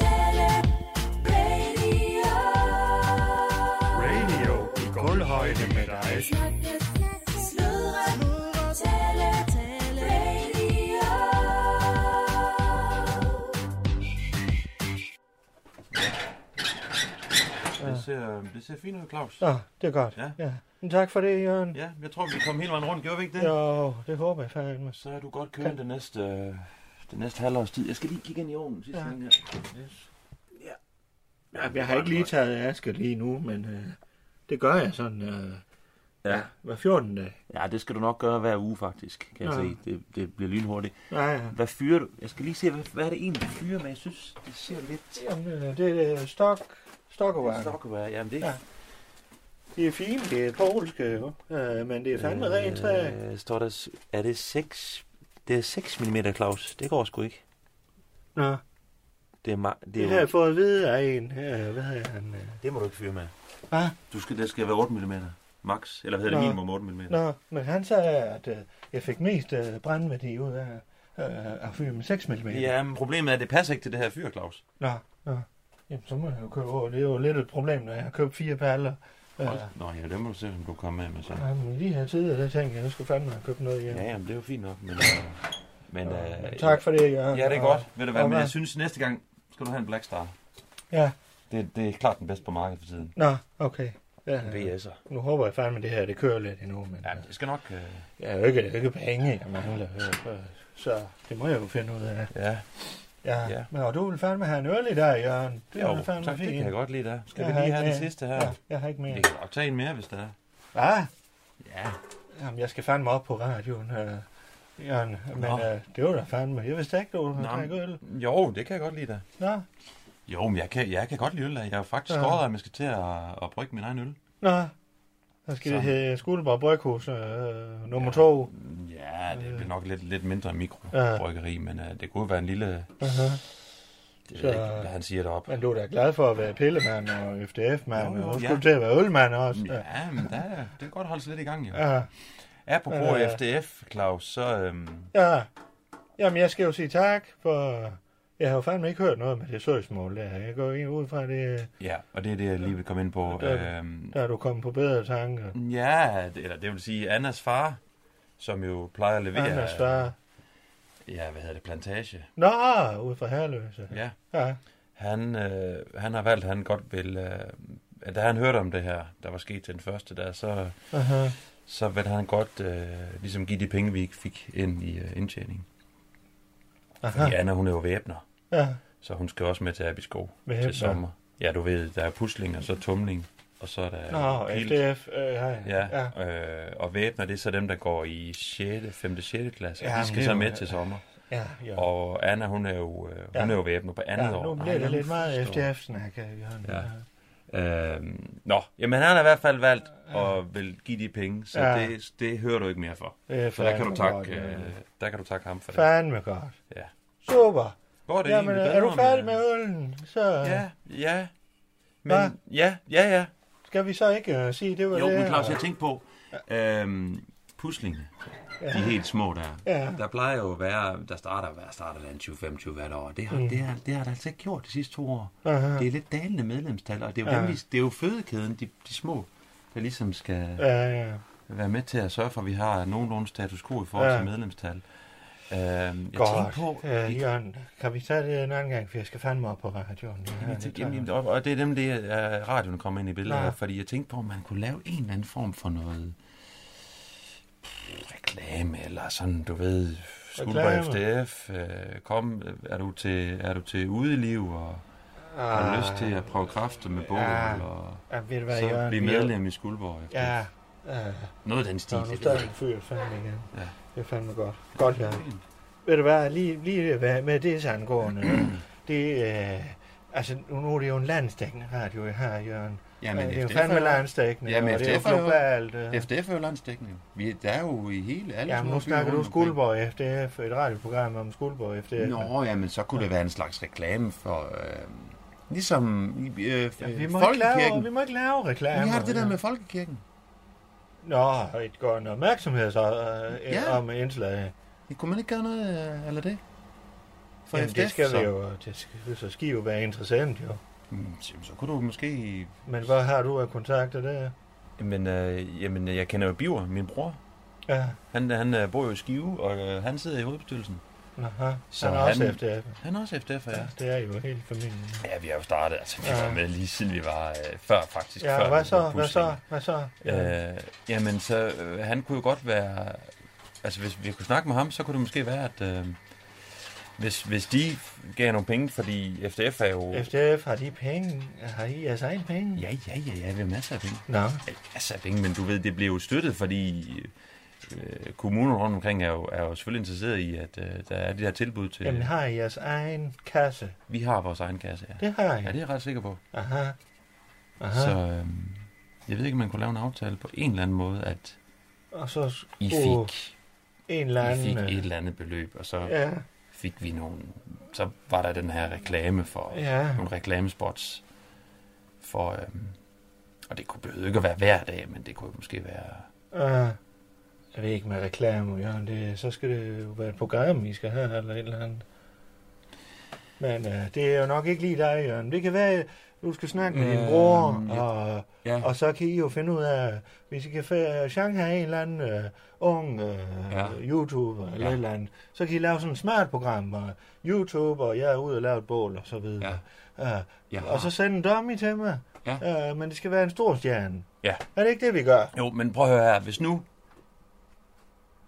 tale, radio. Radio i gulvhøjde med dig. Snakke, sludre, tale, tale, radio. Det ser, det ser fint ud, Claus. Nå, det er godt. Ja. Ja. ja. Men tak for det, Jørgen. Ja, jeg tror, vi kom hele vejen rundt. Gjorde vi ikke det? Jo, det håber jeg fandme. Så er du godt kørende det næste, øh, det næste halvårs tid. Jeg skal lige kigge ind i ovnen sidste Ja. gang her. Yes. Ja, jeg har ikke lige taget aske lige nu, men øh, det gør jeg sådan øh, Ja. hver 14. dag. ja, det skal du nok gøre hver uge faktisk, kan jeg Nå. se. Det, det bliver lynhurtigt. Ja, ja. Hvad fyrer du? Jeg skal lige se, hvad, hvad er det egentlig, du fyrer med? Jeg synes, det ser lidt... Jamen, øh, det er stok, stokkevarer. Stokkevarer. Jamen, det Ja. Det er fint, det er polske, jo. Øh, men det er fandme øh, rent træ. Øh, står der... s- Er det 6... Det er 6 mm, Claus. Det går sgu ikke. Nå, Det, er ma- det, det er har jo, jeg fået at vide af en. Øh, hvad hedder han? Øh, det må du ikke fyre med. Hvad? Du skal, det skal være 8 mm. Max. Eller hvad hedder det? Nå. Minimum 8 mm. Nå, men han sagde, at øh, jeg fik mest øh, brændværdi ud af øh, at fyre med 6 mm. Ja, men problemet er, at det passer ikke til det her fyr, Claus. Nå, nå. Jamen, så må jeg jo købe over. Det er jo lidt et problem, når jeg har købt fire paller. Øh, Ja. Nå ja, det må du se, om du kommer med med så. jamen, lige her tidligere, der tænkte jeg, at jeg skulle fandme have købt noget hjem. Ja, jamen, det er jo fint nok, men... Øh, men Øh, øh, tak for det, Jørgen. Ja, det er Og- godt. Ved du hvad, og men jeg synes, næste gang skal du have en Black Star. Ja, Det, det er klart den bedste på markedet for tiden. nå, okay. Ja, VS'er. nu håber jeg fandme, at det her det kører lidt endnu, men Ja, det skal nok... Øh, jeg er jo ikke, det er jo ikke penge, jeg mangler. øh, øh, Så det må jeg jo finde ud af. ja, Ja, Ja. ja. men og du vil fandme have en øl i dag, Jørgen. Det jo, er fandme tak, det fint. kan jeg godt lide der. Skal vi har lige ikke have den mere. sidste her? Ja, jeg har ikke mere. Vi kan nok tage en mere, hvis der er. Hvad? Ja, Jamen, jeg skal fandme op på radioen, øh, Jørgen. Men Nå. øh, det var da fandme. Jeg vidste ikke, du Nå, havde drikket øl. jo, det kan jeg godt lide der. Nå, Jo, men jeg kan, jeg kan godt lide øl. da. Jeg har faktisk Ja. skåret, at man skal til at, at brygge min egen øl. nå. Så skal Så. det hedde Skuldborg Bryghus øh, nummer 2. Ja, det bliver nok lidt, lidt mindre Ja. mikrobryggeri, men øh, det kunne være en lille... Uh-huh. Det Så- ved jeg ikke, hvad han siger deroppe. Men du er da glad for at være pillemand og FDF-mand, Jo, jo, og nu ja. skulle du til at være ølmand også. Ja. Ja, men der, er- det kan godt holdes lidt i gang, jo. Ja. Øh. Apropos Ja. FDF, Claus, så... Øhm, ja. Jamen, jeg skal jo sige tak, for jeg har jo fandme ikke hørt noget med det søgsmål der. Jeg går ind ud fra det, ja, og det er det, jeg lige vil komme ind på. Ja, det er Øhm, der er du kommet på bedre tanker. Mm, ja, det- eller det vil sige Annas far, som jo plejer at levere... Anders far. Ja, hvad hedder det? Plantage. Nå, ud fra herløse. Ja. Ja. Han, øh, han har valgt, at han godt vil... Øh, at da han hørte om det her, der var sket til den første der, så, Aha. så vil han godt øh, ligesom give de penge, vi ikke fik ind i øh, indtjeningen. Fordi Aha. Anna, hun er jo væbner. Ja. Så hun skal også med til Abisko Væbner. til sommer. Ja, du ved, der er pusling, og så tumling, og så er der Nå, pilt. FDF. Øh, ja. Ja, ja. Øh, og væbner, det er så dem, der går i 6., 5. 6. klasse. Ja, Ja, de men skal det er så jo- med til sommer. ja, ja. Og Anna, hun er jo, øh, hun Ja. er jo væbner på andet Ja, år. nu Ej, bliver det jeg lidt meget forstår. FDF-snak, øh, Jørgen. Ja. Øhm, nå, jamen han har i hvert fald valgt at vil give de penge, så Ja. det, det hører du ikke mere for. Det er Så der kan du fandme godt, takke, Jørgen. øh, der kan du takke ham for det. Fandme godt. Ja. Super. Går det Jamen, egentlig er bedre øh, du færdig med øllen? Så Ja, ja. Hva? Men, ja, ja, ja. skal vi så ikke uh, sige, det var Jo, det. men Claus, og- jeg tænkte på, øhm, puslingene, de helt små der, Ja. der plejer jo at være, der starter, hvad starter der en 20-25 hvert år. Det har, mm. det, har, det har der altså ikke gjort de sidste to år. Aha. Det er lidt dalende medlemstal, og det er jo, dem, vi, det er jo fødekæden, de, de små, der ligesom skal Ja, ja. være med til at sørge for, at vi har nogenlunde status quo i forhold til Ja. medlemstal. Øhm, jeg tænkte Godt. på, Øh, vi- Jørgen, kan vi tage det en anden gang, for jeg skal fandme op på radioen. Ja, Jeg det tænkte, tager- jamen, og, og det er dem, det er uh, radioen kommer ind i billedet Ja. her, fordi jeg tænkte på, om man kunne lave en eller anden form for noget pff, reklame, eller sådan, du ved, Skuldborg FDF, øh, kom, øh, er du til, er du til udeliv, og har Ah, lyst til at prøve kræfter med bål, Ja. og Ja, ved du hvad, så Jørgen? blive vi er- medlem i Skuldborg FDF. Ja, ja. Noget af den Så stil. er du det ved jeg stadig ikke. en fyr fandme igen. Ja. Det er fandme godt. Godt, Jørgen. Ved du hvad, lige, lige hvad med det angående, det øh, altså nu, nu er det jo en landstækkende radio, jeg har, Jørgen. Ja, Jamen, men det er jo FDF fandme er jo- landstækkende, Jamen, og det er jo FDF er jo- globalt. Øh. FDF er jo landsdækkende. Vi, der er jo i hele alle Jamen, små nu byer snakker du rundt omkring. Skuldborg FDF, et radioprogram om Skuldborg FDF. Nå, jamen, så kunne det være en slags reklame for, øh, Ligesom i, øh, Ja, øh, vi, må ikke lave, folkekirken. vi må ikke lave reklamer. Vi har det der med folkekirken. Nå, et godt opmærksomhed så, øh, Ja. ja. om indslaget. Det kunne man ikke gøre noget øh, eller det? For Jamen, FDF, det skal så. vi jo, det skal, så skal I jo være interessant jo. Mm, så- så kunne du måske... Men hvad har du af kontakter der? Men, øh, jamen, jeg kender jo Biver, min bror. Ja, Han, han øh, bor jo i Skive, og øh, han sidder i hovedbestyrelsen. aha. Så Så han er også han- efter Han er også FDF'er, ja. Ja, det er jo helt familien. Ja, vi har jo startet, altså vi Ja. var med lige siden vi var øh, før faktisk. Ja, før hvad vi var så? Hvad så? pusling. Hvad så? Ja. Øh, jamen, så øh, han kunne jo godt være... Altså, hvis vi kunne snakke med ham, så kunne det måske være, at... Øh, hvis, hvis de gav nogle penge, fordi FDF er jo... FDF, har de penge? Har I jeres egen penge? Ja, ja, ja, ja, vi har masser af penge. Nå, masser af penge, men du ved, det blev jo støttet, fordi øh, kommunerne rundt omkring er jo, er jo selvfølgelig interesseret i, at øh, der er de her tilbud til... jamen har I jeres egen kasse? Vi har vores egen kasse, ja. Det har I. Ja, det er jeg ret sikker på. Aha. Aha. Så øh, jeg ved ikke, om man kunne lave en aftale på en eller anden måde, at Og så I skulle fik, en uh, eller I anden... fik øh, et eller andet beløb, og så Ja, fik vi nogle... Så var der den her reklame for... ja. Nogle reklamespots for... Øh, og det kunne behøve ikke at være hver dag, men det kunne måske være... Uh, jeg ved ikke med reklamer, Jørgen. Det, så skal det jo være et program, I skal have, eller et eller andet. Men uh, det er jo nok ikke lige dig, Jørgen. Det kan være, du skal snakke med din Øhm, bror, ja. og, Ja, og så kan I jo finde ud af, hvis I kan få øh, Shanghai en eller anden uh, ung uh, Ja. ja. YouTuber, eller Ja. et eller andet, så kan I lave sådan et smart program, og YouTube, og jeg er ude og lave et bål, og så videre. Ja. jeg og så sende en dummy til mig. Ja. Uh, men det skal være en stor stjerne. Ja. Er det ikke det, vi gør? Jo, men prøv at høre her. Hvis nu...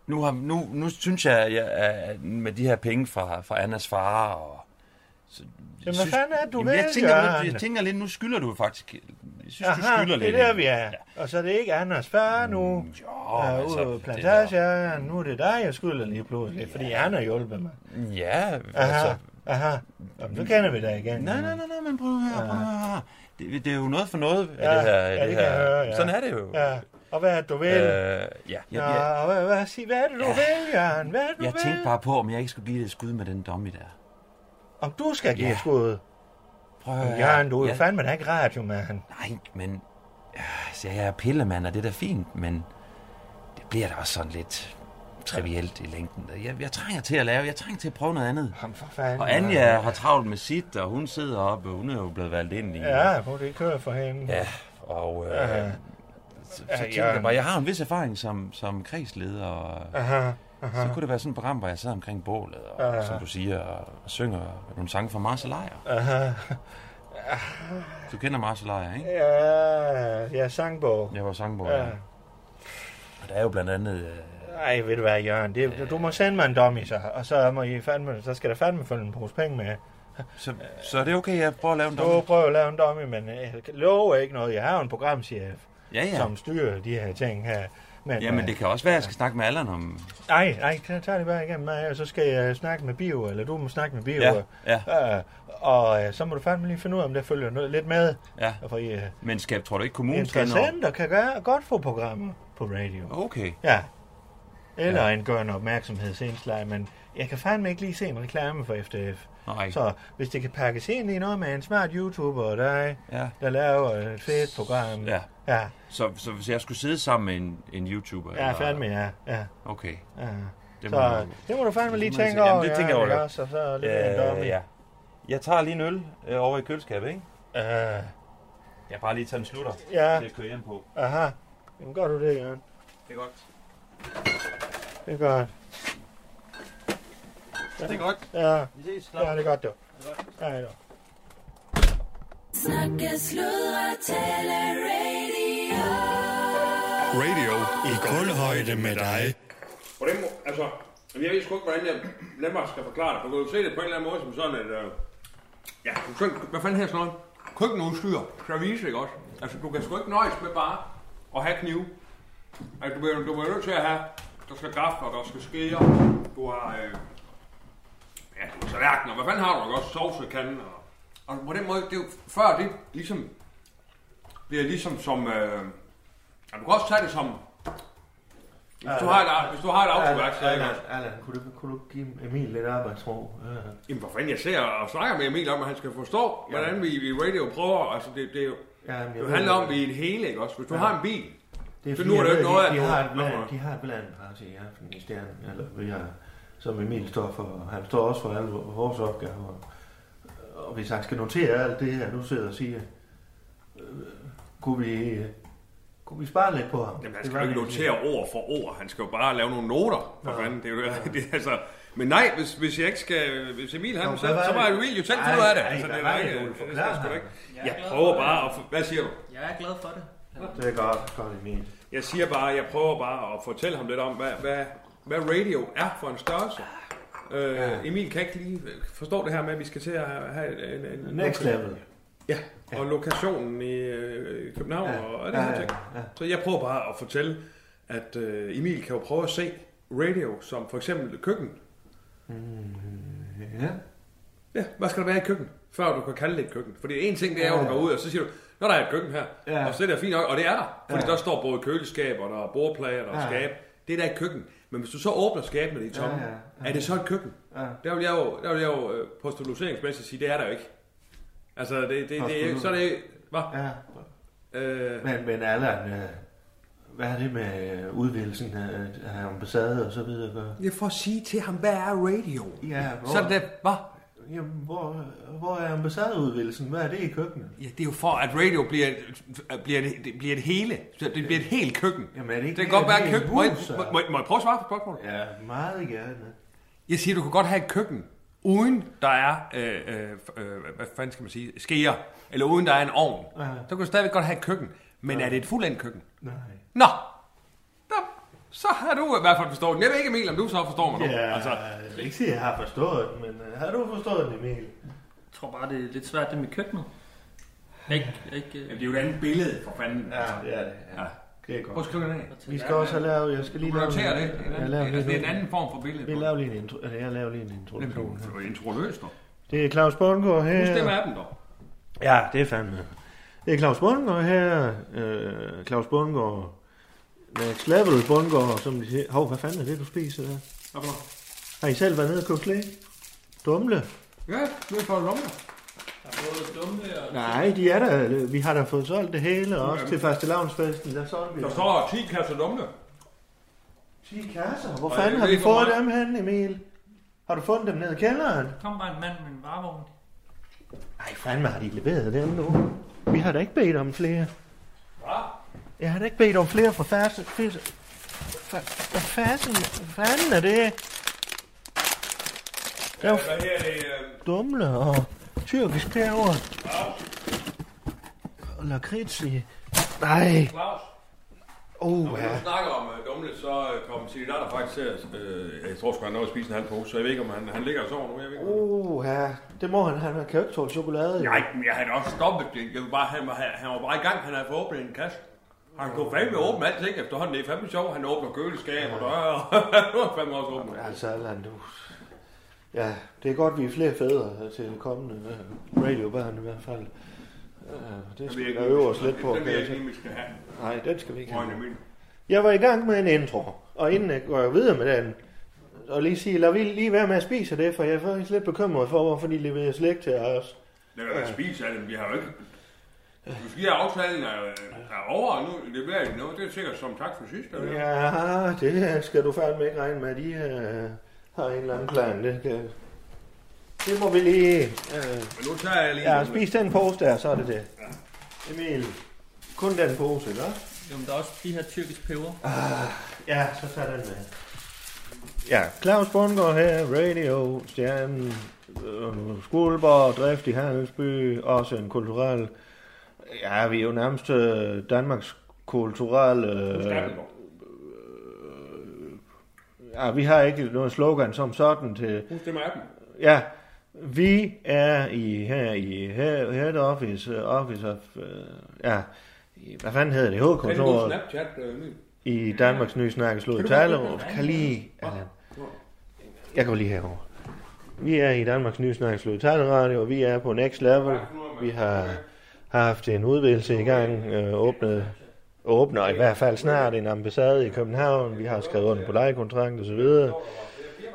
Nu, har, nu, nu synes jeg, at jeg, at med de her penge fra, fra Annas far og... Så, hvad fanden er det, du Jamen, jeg vil, tænker, jeg, Jørgen? jeg tænker lidt, nu skylder du faktisk... Jeg synes, du Aha, skylder det lidt. er der, vi er. Og så er det ikke Anders far nu. Mm, Jo, Jo, øh, altså, ude på det plantagen, nu er det dig, jeg skylder lige pludselig, ja. fordi han har hjulpet mig. der- Ja, Aha, altså... aha. Jamen, nu kender vi dig igen. Nej, nej, nej, nej, men prøv at høre, prøv at høre. Det, det er jo noget for noget, ja, Ja, det her. ja, det kan her. jeg høre, ja. Sådan er det jo. Ja, og hvad er det, du vil? Øh, Øh, ja. Nå, Jeg, jeg, hvad, hvad, sig, hvad er det, du ja. vil, Jørgen? Hvad er det, du jeg vil? tænkte bare på, om jeg ikke skulle give det et skud med den domme der. Om du skal give Ja. ja. skud. Prøv at høre. her. Jørgen, du er jo Jeg- fandme da ikke radio, mand. Nej, men... øh, Så jeg er pillemand, og det er da fint, men... Det bliver da også sådan lidt trivielt i længden. Jeg, jeg trænger til at lave, jeg trænger til at prøve noget andet. Ham for fanden. Og Anja har travlt med sit, og hun sidder oppe, og hun er jo blevet valgt ind i... Ja, må det ikke køre for hende. ja og... Øh, Ja. Så, så Ja, tænker ja. jeg bare, jeg har en vis erfaring som, som kredsleder, og Aha, så aha, kunne det være sådan et program, hvor jeg sad omkring bålet, og Ja. som du siger, og, og synger nogle sange fra Mars og Lejer. aha. Du kender Mars og Lejer, ikke? Ja, ja, sangbog. Jeg var sangbog, ja. Ja. Og der er jo blandt andet... Øh, Ej, ved du hvad, Jørgen, det, du må sende mig en dummy, så, og så, må I fandme, så skal der fandme følge en pose penge med. så, så er det okay, jeg prøver at lave en domme. Du prøver at lave en dummy, men jeg lover ikke noget. Jeg har jo en programchef, Ja, ja. ja. som styrer de her ting her. Men, øh, Jamen, det kan også være, at jeg skal snakke med Allan om... Nej, nej, så tager det bare igennem mig, og så skal jeg snakke med Bio, eller du må snakke med Bio. Ja, ja, Øh, og øh, så må du fandme lige finde ud af, om det følger noget lidt med. ja. For I øh, Men skal, tror du ikke, kommunen skal nå? interessenter kan gøre, godt få programmer på radio. Okay. Ja. Eller ja. en gørende opmærksomhedsindslag, men jeg kan fandme ikke lige se en reklame for FDF. Nej. Så hvis det kan pakkes ind i noget med en smart YouTuber og dig, Ja. der laver et fedt program. ja. Ja, Så, så hvis jeg skulle sidde sammen med en, en YouTuber? ja fandme, ja. ja, Okay. ja. Det Så det må du fandme lige det må jeg tænke sige. over. Jamen, det tænker jeg ja, over, ikke ja. også? Og så lidt øh, en dummy. Ja. Jeg tager lige en øl øh, over i køleskabet, ikke? Øh, Jeg bare lige tager en slutter ja, at køre hjem på. aha. Jamen, gør du det, Jørgen? Det er godt. Det er godt. Det er godt. Ja, Vi ses. ja det er godt, du. Ja, det er godt. Snakke, sludre, tale, radio. Radio i kulhøjde med dig. Hvordan, må- altså, jeg ved sgu ikke, hvordan jeg nemmere skal forklare det. Du kan jo se det på en eller anden måde som sådan, at... Øh, ja, du sådan, hvad fanden her sådan noget? Køkkenudstyr, service, ikke også? Altså, du kan sgu ikke nøjes med bare at have knive. Altså, du bliver, du bliver nødt til at have... Der skal gafler, der skal skære, du har... Øh, ja, du har tallerkener, hvad fanden har du, ikke også? Sovsekanden og... Og på den måde, det er jo før det ligesom... Bliver ligesom som... Øh, ja, du kan også tage det som Hvis du har et, ar- hvis du har et autoværk, så er jeg godt. Allan, kunne du, kunne du give Emil lidt arbejdsro? Ja. Jamen, hvor fanden jeg ser og snakker med Emil om, at han skal forstå, hvordan vi i radio prøver. Altså, det, det, er jo, Ja, men jeg det ved handler om, at det. vi er et hele, ikke også? Hvis du Ja. har en bil, Det er Så fordi, nu er jeg der jo ved, ikke noget, de, de, at- har et Nå. bland, de har et blandet party i aften i stjernen, eller hvad jeg, som Emil står for. Han står også for alle vores opgaver. Og hvis han skal notere alt det her, nu sidder og siger, øh, kunne vi, øh, kunne vi spare lidt på ham? Jamen, han Det skal jo var ikke det, jeg notere ord for ord. Han skal jo bare lave nogle noter. For fanden, det er jo det, det er altså... Men nej, hvis, hvis jeg ikke skal... Hvis Emil han, Nå, så, hvad var så var det? Emil jo selv Ej, finde ud af det. ej, Altså, hvad det er var der det, ikke... Ole? Det skal Forklar sgu da ham. ikke. Jeg er Jeg glad for prøver det. bare at... Hvad siger du? Jeg er glad for det. siger. Det er godt, godt Emil. Jeg siger bare, jeg prøver bare at fortælle ham lidt om, hvad, hvad, hvad radio er for en størrelse. Øh, Emil kan ikke lige forstå det her med, at vi skal til at have- have en, en, en Next level. Ja, og lokationen i øh, København ja. og alle de her ting. ja. Så jeg prøver bare at fortælle, at øh, Emil kan jo prøve at se radio som for eksempel køkken. ja. Ja, hvad skal der være i køkken, før du kan kalde det et køkken? Fordi en ting, det er jo, at du går ud, og så siger du, når der er et køkken her, Ja. ja. og så er det fint nok, og det er der. Fordi Ja. ja. der står både køleskab, og der er bordplader, der er Ja. ja. skab. Det er der et køkken. Men hvis du så åbner skabene, de er tomme, Ja, ja, ja, ja, ja. ja. er det så et køkken? Ja. Der vil jeg jo, der vil jeg jo øh, postuloseringsmæssigt sige, det er der jo ikke. Altså, det, det, det, Postulut. det, så er det... Hvad? ja. Øh, Men, men Allan, øh, hvad er det med øh, udvidelsen af, af ambassade og så videre? at gøre? Det er for at sige til ham, hvad er radio? Ja, hvor, Så er det, der, hvad? Jamen, hvor, hvor er ambassadeudvidelsen? Hvad er det i køkkenet? Ja, det er jo for, at radio bliver, bliver, det, bliver et hele. Så Det bliver et helt køkken. Jamen, er det ikke det kan mere godt være et et helt køkken. Må jeg, hus, må, så? må, må jeg prøve at svare på spørgsmålet? Ja, meget gerne. Jeg siger, du kan godt have et køkken, uden der er, øh, øh, øh, hvad fanden skal man sige, skeer, eller uden der er en ovn. Ja. Så kan du stadigvæk godt have et køkken. Men er det et fuldendt køkken? Nej. Nå, Nå. så har du i hvert fald forstået den. Jeg ved ikke, Emil, om du så forstår mig nu. Ja, altså, Altså, jeg vil ikke sige, at jeg har forstået den, men øh, har du forstået den, Emil? Jeg tror bare, det er lidt svært det med køkkenet. Ikke, ikke, øh, er jo et andet billede, for fanden. Ja, det er det. Ja. Ja. Det er Prøv at godt. skrive den af. Vi skal også have lavet, jeg skal Du lige kan lave notere det. en, jeg laver Altså, det er lige en anden form for billede. Vi laver lige en intro, eller jeg laver lige en introduktion. her. Det er introløst, dog. Det er Claus Bundgaard her. Husk det med appen, dog. Ja, det er fandme. Det er Claus Bundgaard her. Øh, Claus Bundgaard. Next level Bundgaard, som de siger. Hov, hvad fanden er det, du spiser der? Hvad for noget? Har I selv været nede og kogt læge? Dumle? Ja, nu er det for at lomme. både dumme og... Nej, de er der. Vi har da fået solgt det hele, og også til første lavnsfesten. Der solgte vi. Der står 10 kasser dumle. 10 kasser. Hvor Og fanden jeg har ved vi ikke, hvor fået meget- dem hen, Emil? Har du fundet dem nede i kælderen? Kom bare en mand med en varevogn. Nej, fandme har de leveret dem nu. Vi har da ikke bedt om flere. Hvad? Jeg har da ikke bedt om flere fra færdsel... fis- fa- Hvad fanden, fanden er det? Der er jo Hvad her er det? øh, dumle og tyrkisk pæver. Og lakrits i. Nej, Claus? oh, Når ja. du snakker om uh, dumle, så øh, kom Sili Latter faktisk til at... Øh, jeg tror sgu, han nåede at spise en halv pose, så jeg ved ikke, om han, han ligger og sover nu. Jeg ved ikke, om- Uh, ja. Det må han, han kan jo ikke tåle chokolade. jo. Nej, men jeg havde også stoppet det. Jeg ville bare, han, var, han var bare i gang, han havde fået åbnet en kasse. Han kunne fandme åbne alt, ikke? Efterhånden, det er fandme sjovt. Han åbner køleskab og døre, og nu har han fandme også åbnet. Altså, Allan, du... Ja, det er godt, vi er flere fædre til kommende øh, radiobørn i hvert fald. Øh, det skal vi da øve os lidt på. Den kan vil jeg jeg ikke se. lige, vi skal have. Nej, den skal vi ikke Røgne have. min. Jeg var i gang med en intro, og inden jeg går videre med den, og lige sige, lad vi lige være med at spise det, for jeg er faktisk lidt bekymret for, hvorfor de leverer slik til os. Lad være med at spise af dem, vi har jo ikke... Øh. Du skal have aftalen er, er over, og nu leverer de noget. Det er sikkert som tak for sidst. eller hvad? Ja, det skal du fandme ikke regne med, de øh, har en eller anden plan. Det, kan... det må vi lige... Øh, Men nu tager jeg lige... Ja, nogle- spis den pose der, så er det det. Emil, kun den pose, ikke? Ah, Jamen, der er også de her tyrkisk peber. Ja, så tag den med. Ja, Claus Bundgaard her, Radio, Stjernen, øh, Skuldborg, Drift i Handelsby, også en kulturel... Ja, vi er jo nærmest øh, Danmarks kulturelle... Øh, Stærkenborg. ja, vi har ikke noget slogan som sådan til... Husk det med appen. Ja, vi er i her i he- head office, øh, office of, øh, ja, i- hvad fanden hedder det, Kan du bruge hovedkontoret Snapchat, øh, Emil? i Danmarks nye snakkeslod i Talerup. Kan lige, Allan. jeg går lige herover. Vi er i Danmarks nye snakkeslod i Talerup, og vi er på next level. Vi har har haft en udvidelse i gang, øh, åbnet åbner i hvert fald snart en ambassade i København. Vi har skrevet under på lejekontrakt osv.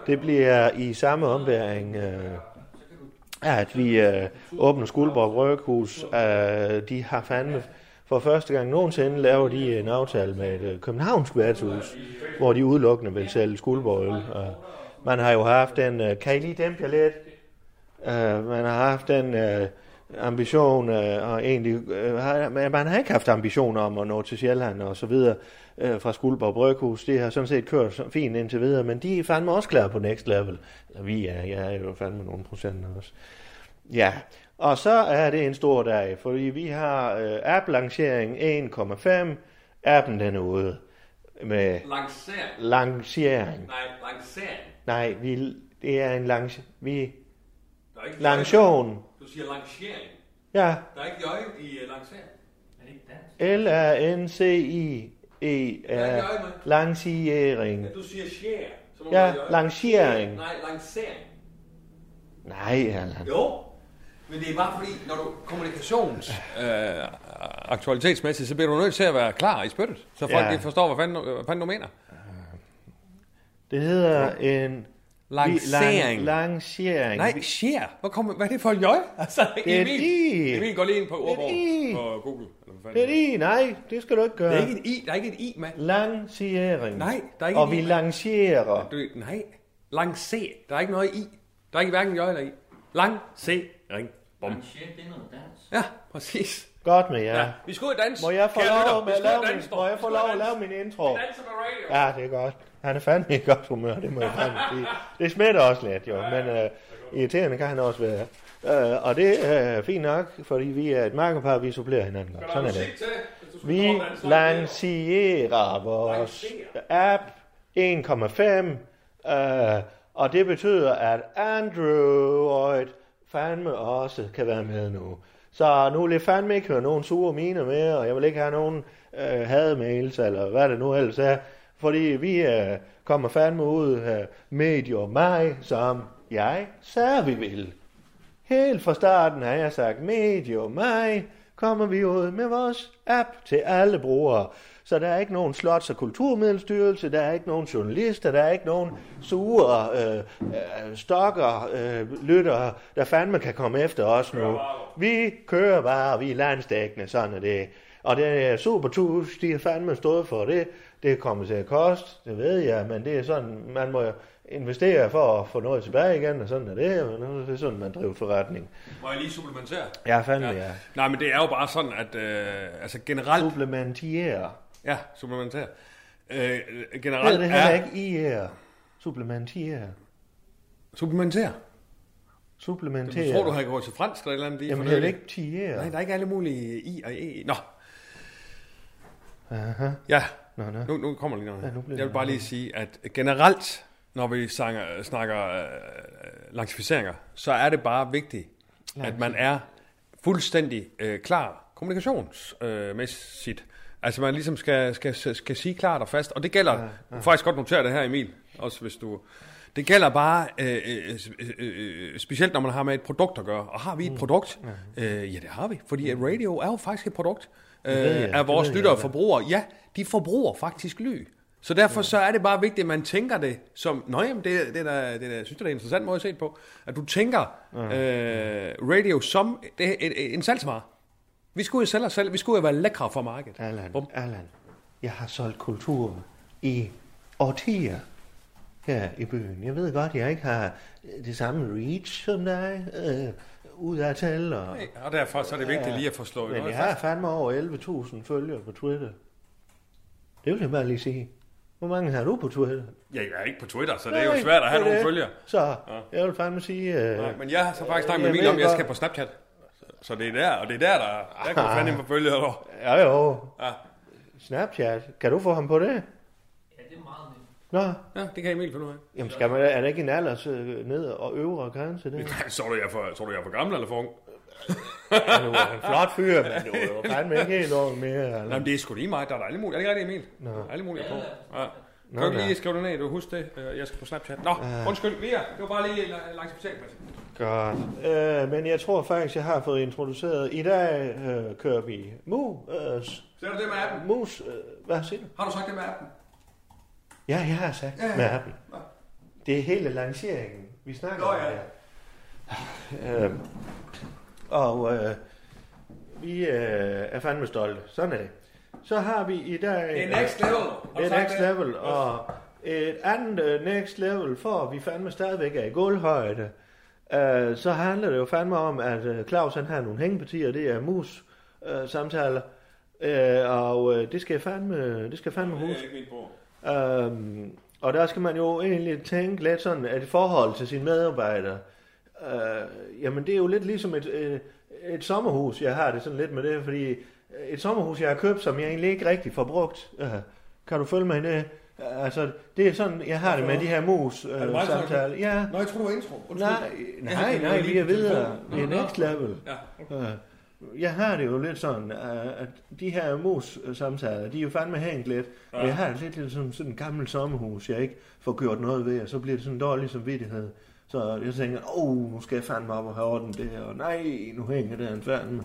Det bliver i samme ombæring, øh, at vi øh, åbner Skuldborg Brøghus. Øh, de har fandme for første gang nogensinde laver de en aftale med et øh, københavnsk værtshus, hvor de udelukkende vil sælge Skuldborg øl. Og man har jo haft den, øh, kan I lige dæmpe jer lidt? Øh, man har haft den øh, ambition, øh, og egentlig, øh, har, man man har ikke haft ambitioner om at nå til Sjælland og så videre øh, fra Skuldborg Bryghus. Det har sådan set kørt så fint indtil videre, men de er fandme også klar på next level. Eller vi er, jeg er jo fandme nogle procenter også. Ja, og så er det en stor dag, fordi vi har øh, app-lancering 1.5. Appen den er ude med Lancering. lancering. Nej, lancering. Nej, vi, det er en lanc... Vi... Der er ikke Lancion. Du siger lancering. Ja, Der er ikke jøje i uh, lancering. Der er E L-A-N-C-I-E-R. ikke jøje med. Lanciering. Du siger share. Så må Ja, man gøre- lancering. Nej, lancering. Nej, Allan. Jo. Men det er bare fordi, når du kommunikations... Øh, aktualitetsmæssigt, så bliver du nødt til at være klar i spyttet, så folk Ja. ja. de forstår, hvad fanden, hvad fanden du mener. Det hedder en... Lancering. Lan- Lancering. Nej, share. Hvor kom, hvad er det for et jøj? Altså, Det er Emil, de. Emil går lige ind på ordbord de. på Google. Eller hvad fanden Det er det. Nej, det skal du ikke Der gøre. er ikke en i, der er ikke en i, mand. Lancering. Nej, der er ikke Og en vi i. lancerer. Du, nej, lang C. Der er ikke noget i. Der er ikke hverken jøj eller i. Lang C. Ring. Bom. Shit, det er noget dans. Ja, præcis. Godt med Ja. jer. ja. Vi skal ud og danse. Må jeg få kære lytter. lov med Vi at skal ud og lave min, danse, dog. må jeg få Vi skal ud lov og at lave danse. min intro? Danse på radio. Ja, det er godt. Han er fandme i godt humør, det må jeg fandme sige. Det smitter også lidt, jo, men øh, irriterende kan han også være. Øh, og det er øh, fint nok, fordi vi er et markerpar, vi supplerer hinanden godt. Sådan er det. Musik til, hvis du skal Vi komme og danse. lancerer vores app 1,5, øh, og det betyder, at Android fandme også kan være med nu. Så nu vil jeg fandme ikke høre nogen sure miner mere, og jeg vil ikke have nogen øh, hademails, eller hvad det nu ellers er, fordi vi øh, kommer fandme ud øh, medio mig, som jeg sagde, vi vil. Helt fra starten har jeg sagt, medio mig kommer vi ud med vores app til alle brugere. Så der er ikke nogen slots- og kulturmiddelstyrelse, der er ikke nogen journalister, der er ikke nogen sure øh, øh, stokker, øh, lyttere, der fandme kan komme efter os nu. Vi kører bare, vi er landsdækkende, sådan er det. Og det er super tus, de har fandme stået for det. Det kommer til at koste, det ved jeg, men det er sådan, man må investere for at få noget tilbage igen, og sådan er det. Men det er sådan, man driver forretning. Må jeg lige supplementere? Ja, fandme ja. Nej, men det er jo bare sådan, at øh, altså generelt... Supplementere. Ja, supplementere. Øh, Hedder generelt det heller ikke i er. Supplementere. Supplementere. Supplementere. Jeg tror, du havde gået til fransk eller et eller andet lige Jamen for hedder det nylig. ikke E tiere? Nej, der er ikke alle mulige i og e. Nå. Aha. Ja, Nå, nå. nu, nu kommer lige noget. Ja, nu bliver jeg det vil bare noget. lige sige, at generelt, når vi sanger, snakker øh, langtificeringer, så er det bare vigtigt, at man er fuldstændig øh, klar kommunikationsmæssigt. altså man ligesom skal, skal, skal sige klart og fast, og det gælder, ja, ja. faktisk godt notere det her Emil, også hvis du... Det gælder bare, øh, øh, øh, øh, specielt når man har med et produkt at gøre. Og har vi et Mm. produkt? Øh, ja, det har vi, fordi at radio er jo faktisk et produkt. Øh, ved jeg, er det vores ved jeg, lyttere ja. forbrugere, ja, de forbruger faktisk ly. Så derfor så er det bare vigtigt, at man tænker det som, nå jamen, det, er- det, er da- det, det, jeg synes, det er da en interessant måde at se det på, at du tænker øh, radio som det, er en, en salgsvare. Vi skulle jo sælge os selv, vi skulle jo være lækre for markedet. Allan, Bum. Allan, jeg har solgt kultur i årtier her i byen. Jeg ved godt, jeg ikke har øh, det samme reach som dig, øh, ud af tal og... Og derfor så er det vigtigt Ja, lige at forstå. Men jeg har fandme over 11.000 følgere på Twitter. Det vil jeg bare lige sige. Hvor mange har du på Twitter? Jeg er ikke på Twitter, så det er jo svært at have det er nogle det. følgere. Så jeg vil fandme sige... Øh, Nej, men jeg har så faktisk snakket med Jeg Emil om, ved at jeg godt. skal på Snapchat. Så det er der, og det er der, der, der kan du fandme på følgere. dog. Ja, jo. Ja. Snapchat. Kan du få ham på det? Ja, det er meget nemt. Nå, Ja, det kan Emil finde ud af. jamen skal man, er der ikke en alders øh, ned og øvre grænse der? Så er du, jeg er for, tror du, jeg er for gammel eller for ung? Han var en flot fyr, men du er jo fandme ikke helt ung mere. Nej, Eller? men det er sgu lige mig. Der er da alle mulige. Er det ikke rigtigt, Emil? Nå. Alle mulige på. Ja. Kan du Nå, ikke ja. lige skrive det ned? Du husker det. Øh, Jeg skal på Snapchat. Nå, undskyld. Via, det var bare lige en lang specialklasse. God. Øh, men jeg tror faktisk, jeg har fået introduceret. I dag øh, kører vi mu, øh, s- Så er det det med appen. mus. Øh, hvad siger du? Har du sagt det med appen? Ja, jeg har sagt Ja, ja. med appen. Nå. Det er hele lanceringen, vi snakker Nå, om her. Øh, og øh, vi øh, er fandme stolte. Sådan er det. Så har vi i dag... Det er next level. Har Det du er sagt next level, og et andet øh, next level, for vi fandme stadigvæk er i gulvhøjde, øh, så handler det jo fandme om, at øh, Claus han har nogle hængepartier, det er mus øh, samtaler, øh, og øh, det skal fandme, det skal fandme Det er huske. ikke mit bord. Øhm, og der skal man jo egentlig tænke lidt sådan, at i forhold til sine medarbejdere, øh, jamen det er jo lidt ligesom et, øh, et sommerhus, jeg har det sådan lidt med det, fordi øh, et sommerhus, jeg har købt, som jeg egentlig ikke rigtig får brugt. Øh, kan du følge mig i det? Øh, Altså, det er sådan, jeg har det med de her mus øh, det meget samtaler. Ja, Nå, jeg tror, det var intro. Undskyld. nej, nej, det var nej, lige vi er på telefonen. videre. Vi er Nå, nå. next level. Ja. Øh, Jeg har det jo lidt sådan, øh, at de her mus-samtaler, de er jo fandme hængt lidt. Ja. Men jeg har det lidt ligesom sådan et gammelt sommerhus, jeg ikke får gjort noget ved, og så bliver det sådan en dårlig samvittighed. Så jeg tænker, åh, oh, nu skal jeg fandme op og have orden der, og nej, nu hænger der en fandme.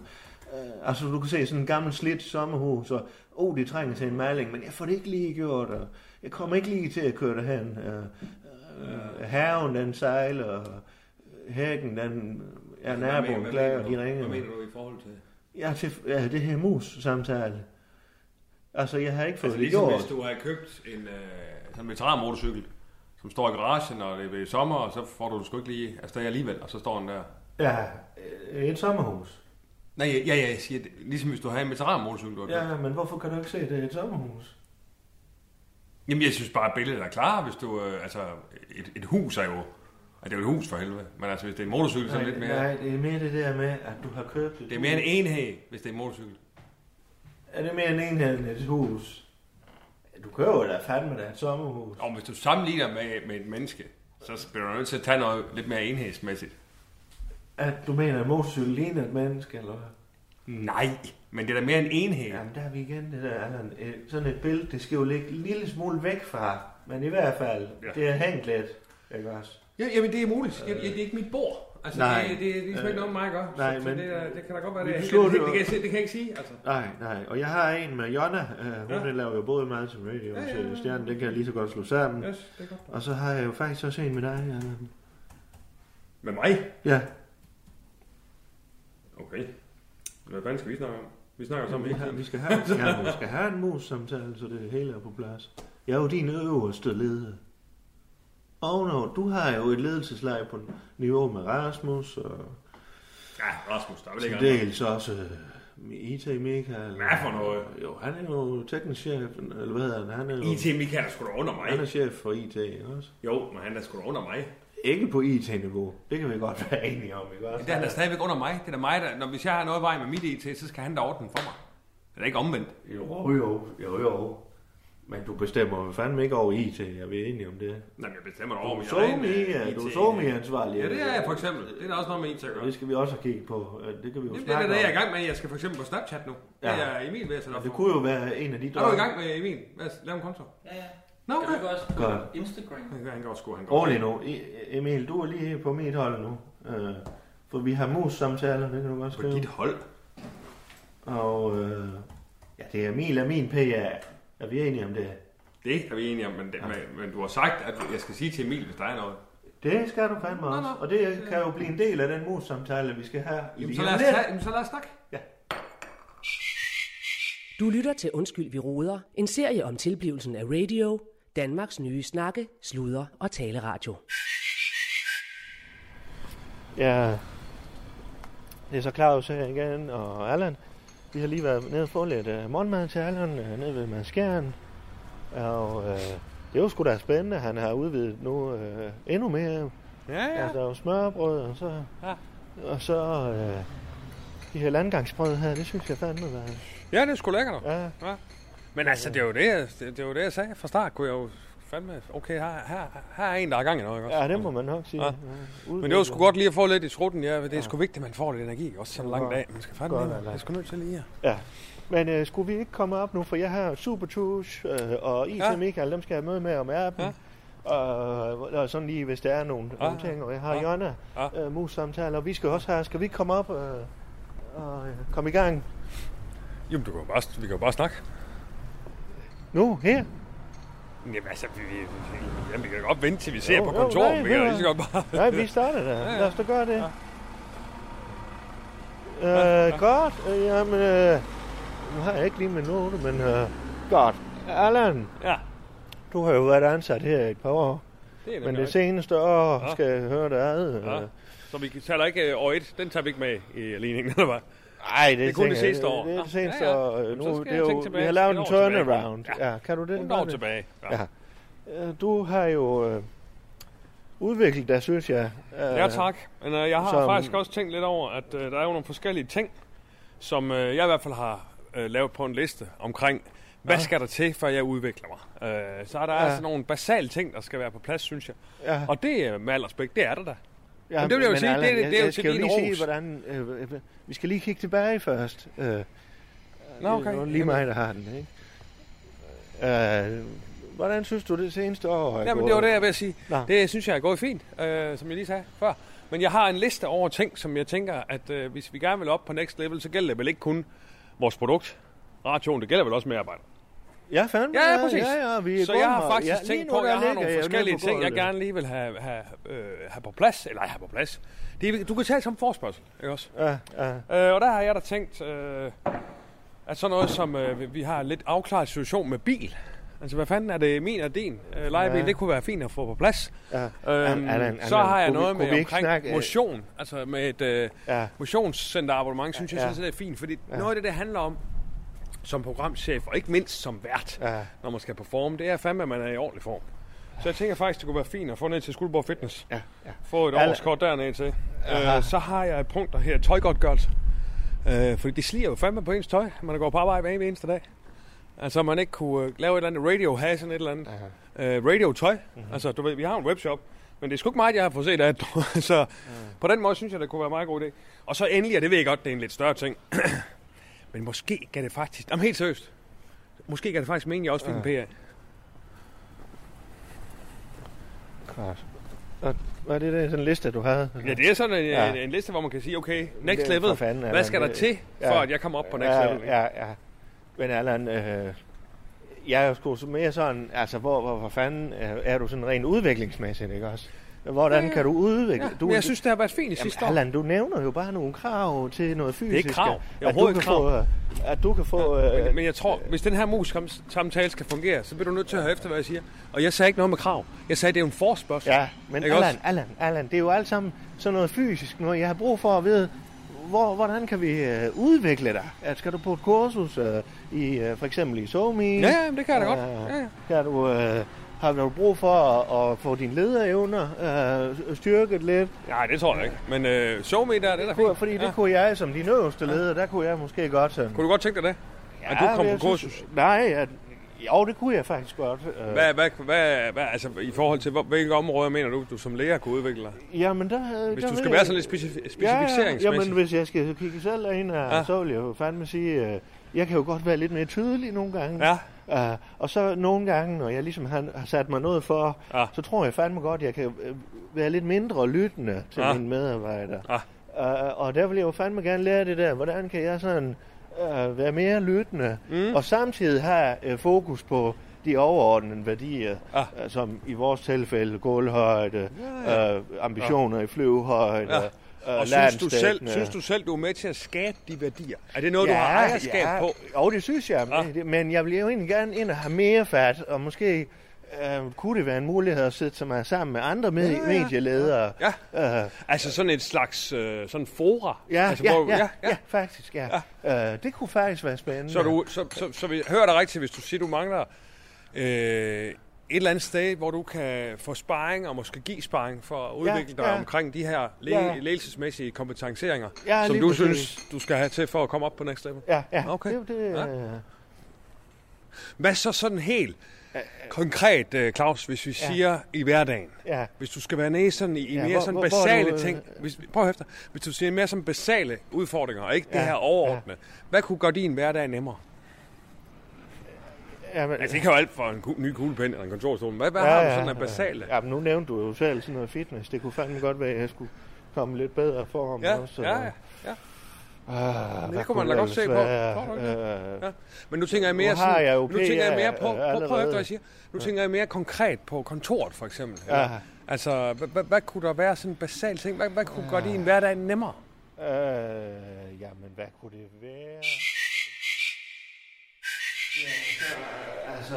Øh, altså, du kan se sådan et gammelt slidt sommerhus, og åh, oh, det trænger til en maling, men jeg får det ikke lige gjort, og jeg kommer ikke lige til at køre derhen. Øh, øh, haven, den sejler, og øh, hækken, den er naboen glad, og de ringer. Hvad mener du i forhold til? Ja, til, ja, det her mus-samtale. Altså, jeg har ikke fået Altså altså, det ligesom gjort. hvis du har købt en øh, sådan en veteranmotorcykel, som står i garagen, og det er sommer, og så får du den sgu ikke lige Altså, afsted alligevel, og så står den der. Ja, øh, et sommerhus. Nej, ja, ja, jeg siger, det. ligesom hvis du har en veteranmotorcykel, du har købt. Ja, men hvorfor kan du ikke se, at det er et sommerhus? Jamen, jeg synes bare, at billedet er klar, hvis du... Øh, altså, et, et hus er jo... Altså, det er jo et hus for helvede. Men altså, hvis det er en motorcykel, så er det lidt mere... nej, det er mere det der med, at du har købt et Det er mere en hus. enhed, hvis det er en motorcykel. Er det mere en enhed end et hus? Du køber da fandme da et sommerhus. Og hvis du sammenligner med, med et menneske, så bliver du nødt til at tage noget lidt mere enhedsmæssigt. At du mener, at motorcykel ligner et menneske, eller hvad? Nej, men det er da mere en enhed. Ja. Jamen, der er vi igen det der, Allan. Øh, Sådan et billede, det skal jo ligge en lille smule væk fra. Men i hvert fald, Ja. ja. det er hængt lidt, ikke også? Ja, jamen, det er muligt. Ja, ja, det er ikke mit bord. Altså, Nej. det, det, det, er ligesom ikke noget, mig gør. Nej, så, men- så det, er- det, kan da godt være, Vi det er helt... beslutter Det, det, kan jo- jeg, se- det kan jeg ikke sige, altså. Nej, nej. Og jeg har en med Jonna. Uh, hun Ja. ja. laver jo både mad som radio og Ja, ja, ja, ja. ja. stjernen. Det kan jeg lige så godt slå sammen. Ja. Yes, det er godt. Og så har jeg jo faktisk også en med dig. Allan. Med mig? Ja, Okay. Hvad fanden skal vi snakke om? Vi snakker så sammen vi, hele har, tiden. vi, skal have, ja, vi skal have en mus samtale, så det hele er på plads. Jeg er jo din øverste leder. Og no, du har jo et ledelseslag på niveau med Rasmus og Ja, Rasmus, der er vel til ikke andet. dels også øh, IT Michael. Hvad for noget? Jo, han er jo teknisk chef, eller hvad hedder han? Han er jo IT Michael er sgu da under han er mig. chef for IT, ikke også? Jo, men han er sgu da under mig. Ikke på IT-niveau. Det kan vi godt være enige om, ikke også? Det er han da stadigvæk under mig. Det er da mig, der... Når, hvis jeg har noget i vejen med mit IT, så skal han da ordne den for mig. Det er da ikke omvendt. Jo, jo, jo, jo. Men du bestemmer jo fandme ikke over IT, jeg er enige om det. Nej, men jeg bestemmer da over Du min så egen, mig, øh, ja, du IT. så mig ansvarlig. Ja, det er jeg for eksempel. Det er da også noget med IT at gøre. Det skal vi også have kigget på. Øh, Det kan vi jo Jamen, det er da snakke det, jeg er i om. gang med. Jeg skal for eksempel på Snapchat nu. Det Ja. er Emil ved at sætte op Det for. kunne jo være en af de Er du i gang med Emil? Lad os lave en konto. Ja, ja. Nå, Kan du okay. ikke også på Godt. Instagram? Han går- Han går sgu, han går. Rolig nu. E- Emil, du er lige her på mit hold nu. Øh, For vi har mus-samtaler, det kan du godt På skrive. dit hold. Og øh, ja, det er Emil og min PA. Er vi enige om det? Det er vi enige om, men, det, men- men du har sagt, at jeg skal sige til Emil, hvis der er noget. Det skal du fandme også. nå. Og det kan jo blive en del af den mus-samtale, vi skal have. i Jamen, lige så om lad os, lidt. tage, jamen, så lad os snakke. Du lytter til Undskyld, vi roder. En serie om tilblivelsen af radio. Danmarks nye snakke, sludre og taleradio. Ja, det er så Claus her igen, og Allan. Vi har lige været nede og få lidt uh, morgenmad til Allan, uh, nede ved Maskeren. Og uh, det er jo sgu da spændende, han har udvidet nu uh, endnu mere. Ja, Ja. Altså, der er jo smørbrød, og så... Ja. Og så... Uh, de her landgangsbrød her, det synes jeg fandme var... Ja, det er sgu lækkert. Ja, Men altså, det er jo det, jeg, det, det var det, jeg sagde fra start. Kunne jeg jo fandme... Okay, her, her, her er en, der er gang i noget, ikke også? ja det må man nok sige. øh, Ja. Ja. Men det var sgu godt lige at få lidt i trutten, ja. Det er sgu vigtigt, at man får lidt energi, ikke også sådan en lang dag. Man skal fandme Godt, ind. Allan. Jeg skal nødt til lige at... Ja. Men øh, skulle vi ikke komme op nu, for jeg har Supertush øh, og IT Ja. ja. Michael, dem skal jeg møde med om appen. Og, og sådan lige, hvis der er nogle, nogle Ah, ting. Og jeg har ah, Jonna, ah. øh, mus-samtaler, og vi skal også have, skal vi ikke komme op øh, og øh, komme i gang Jamen, du kan jo bare, vi kan jo bare snakke. nu, her? Jamen, altså, vi, vi, jamen, vi kan jo godt vente, til vi ser Jo, på jo, kontoret. nej, vi kan jo ved lige så du godt bare... Nej, vi starter da. ja. Lad os da gøre det. Øh, godt. Øh, jamen, øh, nu har jeg ikke lige min note, men øh, godt. Allan, Ja, du har jo været ansat her i et par år, det er men nemlig det rigtigt. seneste år Ja. skal jeg høre dig ad. øh, Ja. Nej, Så vi taler ikke øh, år 1. Den tager vi ikke med i ligningen, eller hvad? det, er kun det tænker jeg, seneste år. Det, det er det Nå, seneste ja, ja. år. øh, Jamen, så Nu, skal det er jeg jo, tænke vi tilbage. har lavet Et en år tilbage. turnaround. Ja. kan du det? Den år tilbage. Ja. Ja. Øh, Du har jo øh, udviklet dig, synes jeg. Øh, mm. Ja, tak. Men øh, jeg har som- faktisk også tænkt lidt over, at øh, der er jo nogle forskellige ting, som øh, jeg i hvert fald har øh, lavet på en liste omkring, hvad ja. skal der til, før jeg udvikler mig? Øh, så er der ja. Ja. altså nogle basale ting, der skal være på plads, synes jeg. Ja. Og det, øh, med al respekt, det er der da. Ja, Men det vil jeg jo sige, Allan, det er- det er jeg, jo jeg til skal jo din lige sige, ros. hvordan... Øh, øh, vi skal lige kigge tilbage først. Øh, Nå, okay. Det er jo lige mig, der har den, ikke? Øh, hvordan synes du, det seneste år er Jamen, gået? det var det, jeg vil sige. Nå. Det synes jeg er gået fint, øh, som jeg lige sagde før. Men jeg har en liste over ting, som jeg tænker, at øh, hvis vi gerne vil op på next level, så gælder det vel ikke kun vores produkt, radioen, det gælder vel også medarbejdere. Ja, fandme. Ja, ja, præcis. Ja, ja, vi er Så gået jeg har meget. faktisk lige tænkt nu, på, at der jeg har ligger nogle jo nede på forskellige ting, jeg gulvet. gerne lige vil have, have, øh, have på plads. Eller have på plads. Det, er- du kan tage det som forspørgsel, ikke også? Ja, ja. Øh, og der har jeg da tænkt, øh, at sådan noget som, øh, vi- vi har en lidt afklaret situation med bil. Altså, hvad fanden er det min og din øh, lejebil? Ja. Det kunne være fint at få på plads. Ja. Øhm, Allan, så Allan, har jeg kunne vi- noget kunne vi med ikke omkring snakke, øh, motion. Altså med et øh, Ja. motionscenterabonnement, synes jeg, Ja. synes, det er fint. Fordi noget af det, det handler om som programchef, og ikke mindst som vært, Ja. når man skal performe, det er fandme, at man er i ordentlig form. Så jeg tænker faktisk, det kunne være fint at få ned til Skuldborg Fitness. Ja, ja. Få et Al- årskort dernede til. Aha. Øh, så har jeg et punkt der her, tøjgodtgørelse. Øh, fordi det sliger jo fandme på ens tøj, man går på arbejde hver evig eneste dag. Altså, man ikke kunne øh, lave et eller andet radio, have sådan et eller andet øh, radio-tøj. Mhm. Mm-hmm. Altså, du ved, vi har en webshop, men det er sgu ikke meget, jeg har fået set af. så Mm. på den måde synes jeg, det kunne være en meget god idé. Og så endelig, og det ved jeg godt, det er en lidt større ting. men måske kan det faktisk... Jamen helt seriøst. Måske kan det faktisk mene, at jeg også fik en PA. Godt. Og hvad er det der, sådan en liste, du havde? Ja, det er sådan en, Ja. ja. en, en liste, hvor man kan sige, okay, Det er next for level. fanden, Hvad Allan, skal der det- til, for ja. at jeg kommer op på next ja, level? ikke? ja, ja. Men Allan, øh, jeg er jo sgu mere sådan, altså hvor, hvor, hvor fanden øh, er du sådan rent udviklingsmæssigt, ikke også? Hvordan kan du udvikle? Ja, du, men jeg synes, det har været fint Jamen, i sidste år. Allan, du nævner jo bare nogle krav til noget fysisk. er ikke krav. Det er At du overhovedet kan ikke krav. få, øh, at du kan få... øh, Ja, Men, men jeg tror, hvis den her mus-samtale skal fungere, så bliver du nødt til at høre efter, hvad jeg siger. Og jeg sagde ikke noget med krav. Jeg sagde, det er jo en forspørgsel. ja, men Ikke Allan, også? Allan, Allan, det er jo alt sammen sådan noget fysisk noget. Jeg har brug for at vide, hvor, hvordan kan vi øh, udvikle dig? At skal du på et kursus øh, i øh, for eksempel i SoMe? Ja, ja, men det kan jeg da godt. Øh, Ja, ja. Kan du, øh, har du brug for at, at få dine lederevner øh, styrket lidt? Nej, det tror jeg ikke. Men øh, SoMe der, det er da Kunne- fint. Fordi det ja. kunne jeg som din øverste leder, der kunne jeg måske godt... Sådan, kunne du godt tænke dig det? At du kom men på jeg synes- kursus? Nej, at, jo, det kunne jeg faktisk godt. Øh, Hvad, hvad, hvad, hvad, altså i forhold til, hvor- hvilke områder mener du, du som lærer kunne udvikle dig? Jamen, der, øh, Hvis der du ved skal jeg- være sådan lidt specifi- specificeringsmæssig. Ja, ja, jamen, hvis jeg skal kigge selv ind her, Ja. ja. så vil jeg jo fandme sige, øh, jeg kan jo godt være lidt mere tydelig nogle gange. Ja. Uh, og så nogle gange, når jeg ligesom har, har sat mig noget for, Ja. ja. så tror jeg fandme godt, jeg kan øh, være lidt mindre lyttende til Ja. ja. mine medarbejdere. Ja. Uh, og der vil jeg jo fandme gerne lære det der, hvordan kan jeg sådan uh, være mere lyttende, mm. og samtidig have uh, fokus på de overordnede værdier, Ja. uh, som i vores tilfælde gulvhøjde, ja, ja. Uh, ambitioner ja. i flyvehøjde, Ah. Ja. øh, Og synes du, selv, landsdækkende. synes du selv, du er med til at skabe de værdier? Er det noget, du har ejerskab ja. på? Jo, det synes jeg. Ah. Ah. Men jeg vil jo egentlig gerne ind og have mere fat, og måske øh, kunne det være en mulighed at sætte mig sammen med andre med- ja. medieledere. Ja. Øh, Altså sådan et slags øh, sådan fora? ja, altså, ja, hvor, ja, ja, ja, faktisk, ja. ja. Øh, det kunne faktisk være spændende. Så, du, så, så, så vi hører dig rigtigt, hvis du siger, du mangler øh, et eller andet sted, hvor du kan få sparring og måske give sparring for at udvikle ja, dig ja. omkring de her le- Ja. ledelsesmæssige kompetenceringer, Ja, som lige du præcis. synes, du skal have til for at komme op på next level. Ja, ja. Okay. Det, det, Ja. ja. Hvad så sådan helt konkret, øh, Claus, hvis vi Ja. siger i hverdagen? ja. Hvis du skal være nede sådan i, i Ja, mere hvor- sådan hvor- hvor er basale du, øh, ting, hvis, prøv at høre efter, hvis du siger mere sådan basale udfordringer, og ikke ja, Ja, det her overordnede, ja. hvad kunne gøre din hverdag nemmere? Ja, men, Altså, det kan jo alt fra en ku- ny kuglepen eller en kontorstol. Hvad, hvad Ja, ja, har du ja, sådan af ja. basale? Ja, men nu nævnte du jo selv sådan noget fitness. Det kunne fandme godt være, at jeg skulle komme lidt bedre for ham Ja, også. øh, ja, ja, ja. Ah, Det hvad kunne man da der godt se ellers på. være? Tror du ikke Øh, Ja. Men nu tænker jeg Nu mere har sådan, jeg jo nu tænker jeg mere PR, på, øh, prøv, prøv at høre, allerede. hvad jeg siger. Nu tænker jeg mere konkret på kontoret for eksempel. Ja. Eller- Altså, hvad, hvad, hvad kunne der være sådan en basal ting? Hvad, hvad kunne gøre din hverdag nemmere? Øh, jamen, hvad kunne det være? Ja, altså,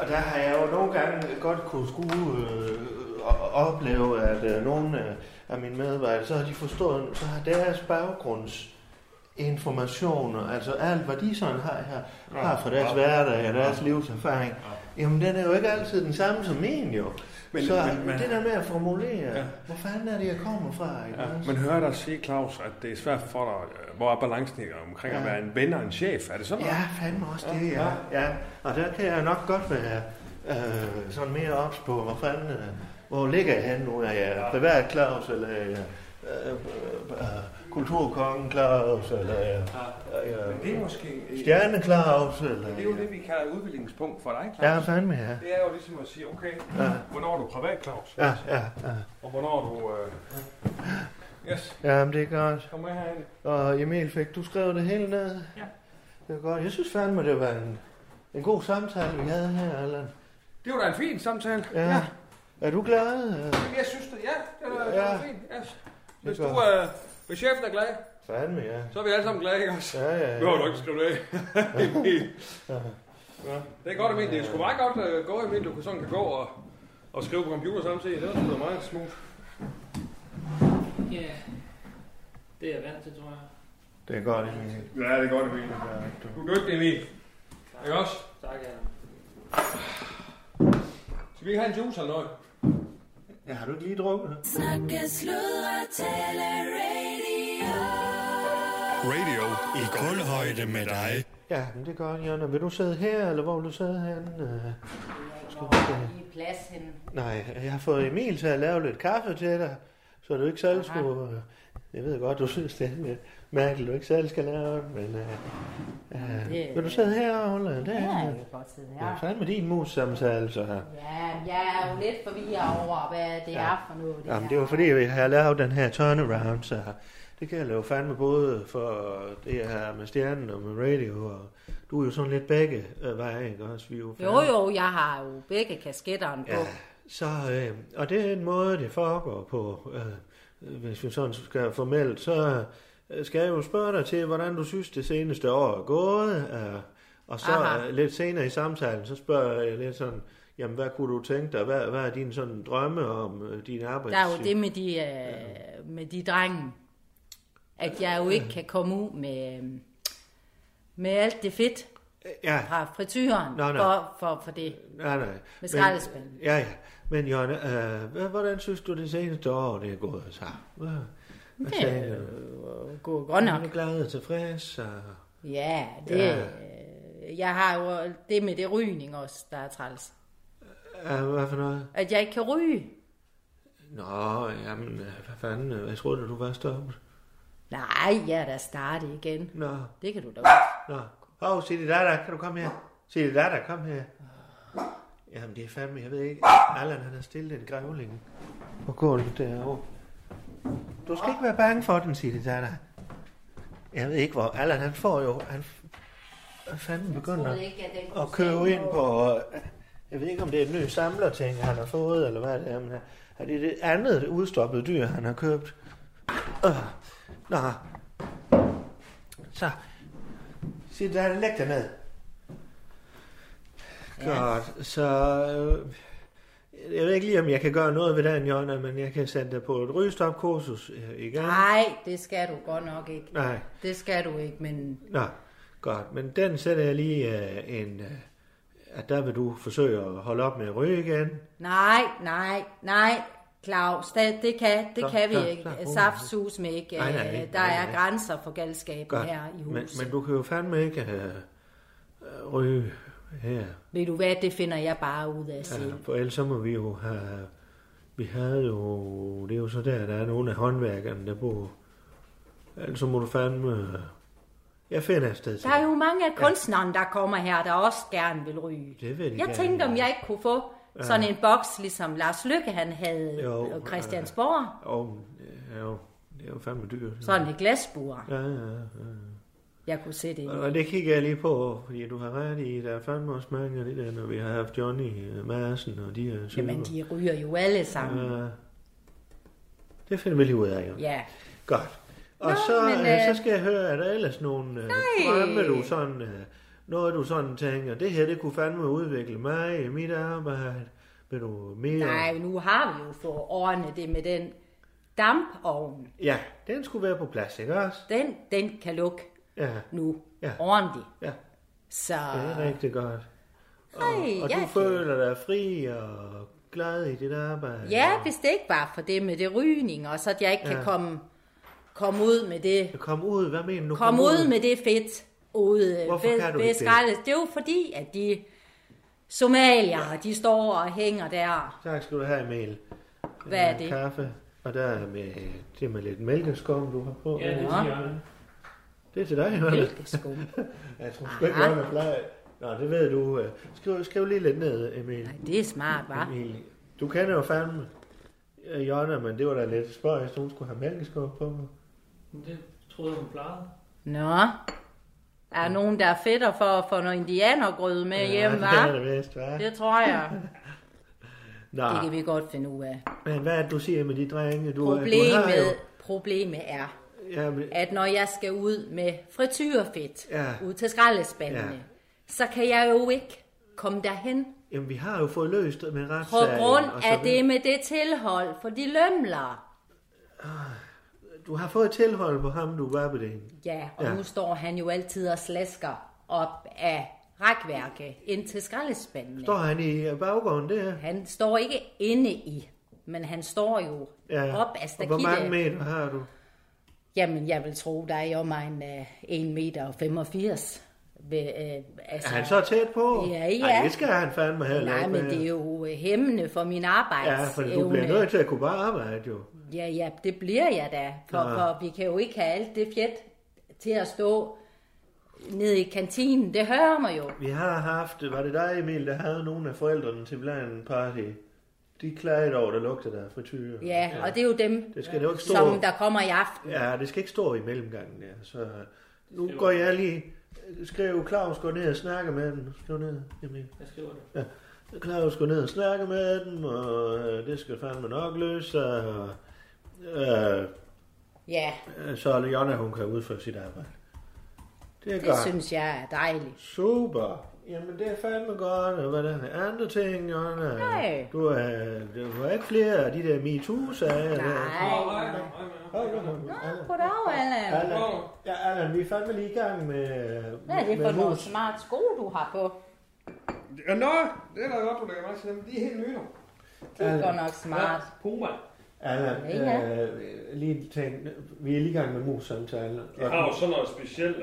og der har jeg jo nogle gange godt kunne skue øh, og opleve, at øh, nogle øh, af mine medarbejdere, så har de forstået, så har deres baggrunds informationer, altså alt, hvad de sådan har her, har fra deres hverdag og deres livserfaring, jamen den er jo ikke altid den samme som min jo. Men- Men, så men- men, men- det der med at formulere, ja. hvor fanden er det, jeg kommer fra? Ikke? også? Men hører dig sige, Claus, at det er svært for dig, øh, hvor er balancen omkring at at Ja. være være en ven og en chef? Er det sådan Ja, fandme også det, ja. ja. Og der kan jeg nok godt være øh, sådan mere ops på, hvor fanden, øh, hvor ligger jeg henne nu? Er jeg privat Claus, eller er jeg øh, øh, øh, kulturkongen Claus, eller er jeg, er jeg det er måske... øh, stjerne Claus, eller... Det er jo det, vi kalder udviklingspunkt for dig, Ja, Claus. fandme, ja. Det er jo ligesom at sige, okay, Ja, hvornår er du privat, Claus? ja, ja. ja. Og hvornår er du... Øh... Yes, Ja, men det er godt. kom med herind. Og Emil, fik du skrevet det hele ned? Ja. Det er godt. Jeg synes fandme, det var en, en god samtale, vi havde her, Allan. Det var da en fin samtale. Ja. ja. Er du glad? Øh, Jeg synes det, ja. Det er Ja. ja. fint. Yes. Hvis, Det du, er øh, hvis chefen er glad, Fandme, ja. så er vi alle sammen glade, ikke også? Ja, ja, ja. Nu har du ikke skrevet af. ja. Det er godt, Emil. Det er sgu meget godt øh, gå, Emil. Du kan sådan kan gå og, og skrive på computer samtidig. Det var sgu da meget smooth. Ja. Det er jeg vant til, tror jeg. Det er godt, Emil. Ja, det er godt, Emil. Du er dygtig, Emil. Ikke også? Tak, Adam. Skal vi ikke have en juice eller noget? Ja, har du ikke lige drukket det? Snakke, sludre, tale, radio. Radio i kulhøjde med dig. Ja, men det er godt, Jonna. Vil du sidde her, eller hvor vil du sidde henne? Øh, Hvor har I plads henne? nej, jeg har fået Emil til at lave lidt kaffe til dig, så du ikke selv Aha. skulle... Øh, jeg ved godt, du synes, det er lidt mærkeligt, du ikke selv skal lave det, men... Øh, øh, Det- vil du sidde her, Ulla? Det Ja, er jeg ja. kan godt sidde Ja, her. fandme din mus-samtale, så her. Ja, jeg er jo lidt forvirret over, hvad det er for noget. Jamen, her. det var fordi, jeg har lavet den her turnaround, så det kan jeg lave fandme både for det her med stjernen og med radio, og du er jo sådan lidt begge øh, veje, ikke også? Vi er jo Jo, jo, jeg har jo begge kasketterne på. Ja, så, øh, og det er en måde, det foregår på, øh, øh, hvis vi sådan skal formelt, så øh, skal jeg jo spørge dig til, hvordan du synes, det seneste år er gået, øh, og så Aha. øh, lidt senere i samtalen, så spørger jeg lidt sådan, jamen hvad kunne du tænke dig, hvad, hvad er dine sådan drømme om øh, din arbejds... Der er jo det med de, øh, med de drenge, at jeg jo ikke kan komme ud med, øh, med alt det fedt Ja, fra frityren Nå, nå. for, for, for det. nej, nej. Med skraldespanden. Ja, ja. Men Jørgen, øh, hvad- hvordan synes du, det seneste år, det er gået så? Hvad, hvad Det sagde er du? jo gå- godt Er du nok. glad og tilfreds? Og... Ja, det, øh, jeg har jo det med det rygning også, der er træls. Øh, hvad for noget? At jeg ikke kan ryge. Nå, jamen, øh, hvad fanden, øh, jeg troede, du var stoppet. Nej, jeg er da startet igen. Nå, Det kan du da godt. nå. Hov, oh, Sili Dada, kan du komme her? Sili Dada, kom her. Jamen, det er fandme, jeg ved ikke. Allan, han har stillet en grævling på gulvet derovre. Du skal ikke være bange for den, Sili Dada. Jeg ved ikke, hvor Allan, han får jo, han han fanden begynder ikke, at den at købe ind på, øh, jeg ved ikke, om det er en ny samlerting, han har fået, eller hvad det er, men er det det andet udstoppede dyr, han har købt? Øh, nå. Så. Sig der, læg dig ned. Godt, så... Øh, jeg ved ikke lige, om jeg kan gøre noget ved den, Jonna, men jeg kan sende dig på et rygestopkursus øh, i gang. Nej, det skal du godt nok ikke. Nej. Det skal du ikke, men Nå, godt. Men den sætter jeg lige øh, en... Øh, at der vil du forsøge at holde op med at ryge igen. nej, nej, nej, Claus, det, det kan, det Nå, kan vi klar, ikke. klar. Uh, Saft sus med ikke. Nej, nej, nej, Øh, Der nej, er nej. grænser for galskaben Godt. her i men, huset. men du kan jo fandme ikke øh, øh, ryge her. Ved du hvad, det finder jeg bare ud af Ja, selv. for ellers så må vi jo have... Vi havde jo... Det er jo så der, der er nogle af håndværkerne, der bor... Ellers så må du fandme... øh, Jeg finder et sted til. Der er jo mange af kunstnerne, der kommer her, der også gerne vil ryge. Det vil de jeg gerne. tænkte, om jeg ikke kunne få sådan en boks, ligesom Lars Lykke han havde Jo, jo, Christiansborg. Og, øh, jo, det er jo fandme dyrt. Sådan et glasbur, Ja, ja, ja. jeg kunne sætte ind. i. Og det kigger jeg lige på, fordi du har ret i, der er fandme også mange af det der, når vi har haft Johnny øh, Madsen, og de er syge. Jamen, de ryger jo alle sammen. Ja. Det finder vi lige ud af, jo. Ja. Godt. Og Nå, Nå, så, men, men, øh... øh, så skal jeg høre, er der ellers nogle øh, drømme, du sådan, øh, noget du sådan tænker, det her, det kunne fandme udvikle mig i mit arbejde. Vil du mere? Nej, nu har vi jo fået ordnet det med den dampovn. Ja, den skulle være på plads, ikke også? Den, den kan lukke Ja, nu Ja. ja. ordentligt. ja, Så det er rigtig godt. nej, Og jeg du kan- føler dig fri og glad i dit arbejde. Ja, hvis det ikke var for det med det rygning, og så at jeg ikke kan Ja. komme, komme ud med det. Kom ud, hvad mener du? Komme ud med det fedt ude Hvorfor kan du ved ikke det? skraldet. Det er jo fordi, at de somalier, de står og hænger der. Tak skal du have, Emil. øh, Hvad er det? Kaffe. Og der er med, det er med lidt mælkeskum, du har på. Ja, det er Nå. til hjørnet. Det er til dig, Jørgen. Mælkeskum. Jeg tror sgu ikke, Jørgen er plejer. Nå, det ved du. øh. Skriv, skriv lige lidt ned, Emil. Nej, det er smart, hva'? Emil. Du kender jo fandme øh, Jonna, men det var da lidt spøjst, hun skulle have mælkeskum på. Men Det troede jeg, hun plejede. Nå. Er der nogen, der er fedtere for at få noget indianergrød med ja, hjem, det er hva'? det vist, hva'? Det tror jeg. Nå, Det kan vi godt finde ud af. men hvad er det, du siger med de drenge? Du, du har Problemet, jo... problemet er, Ja, men, at når jeg skal ud med frityrefedt Ja. ud til skraldespandene, Ja. ja. så kan jeg jo ikke komme derhen jamen, vi har jo fået løst det med på retssagen. grund og så af videre. det med det tilhold for de lømler. Du har fået tilhold på ham, du var på det. Ja, og Ja. ja. nu står han jo altid og slasker op af rækværket ind til skraldespandene. Står han i baggården der? Han står ikke inde i, men han står jo ja. op af Og hvor mange stakittet. meter har du? Jamen, jeg vil tro, der er i omegn af 1,85 meter. Ved, øh, Er altså, han så tæt på? Ja, ja. Ej, det skal han fandme heller Nej, ikke men være. det er jo altså øh, hæmmende for min Ja, for arbejdsevne. du bliver nødt til at kunne bare arbejde jo. Ja, ja, det bliver jeg da. For, Ja. for vi kan jo ikke have alt det fjet til at stå nede i kantinen. Det hører mig jo. Vi har haft, var det dig Emil, der havde nogle af forældrene til blandt party? De klagede over, der lugter der frityre. Ja, ja, og det er jo dem, Det skal jo ikke stå... som der kommer i aften. Ja, det skal ikke stå i mellemgangen der. Så øh, nu går jeg lige... Skriv Claus, gå ned og snakke med dem. Skriv ned, Emil. Jeg skriver det. Claus gå ned og snakke med dem, og øh, det skal fandme nok løse sig, og øh, Ja, øh, så Leona, hun kan udføre sit arbejde. Det er det godt. synes jeg er dejligt. Super. Jamen, det er fandme godt, og hvad der er andre ting, Jonna. Nej. Du er, du har ikke flere af de der MeToo-sager. Nej. Goddag, Allan. Allan, ja, Allan, vi er fandme lige i gang med... Hvad er det med for nogle mus. smart sko, du har på? Ja, nå, det er da godt, du lægger mærke til dem. De er helt nye nu. Det er godt nok smart. Puma. Allan, Ja, ja. øh, lige en ting. Vi er lige i gang med mus-samtalen. Jeg har jo sådan noget specielt... Øh...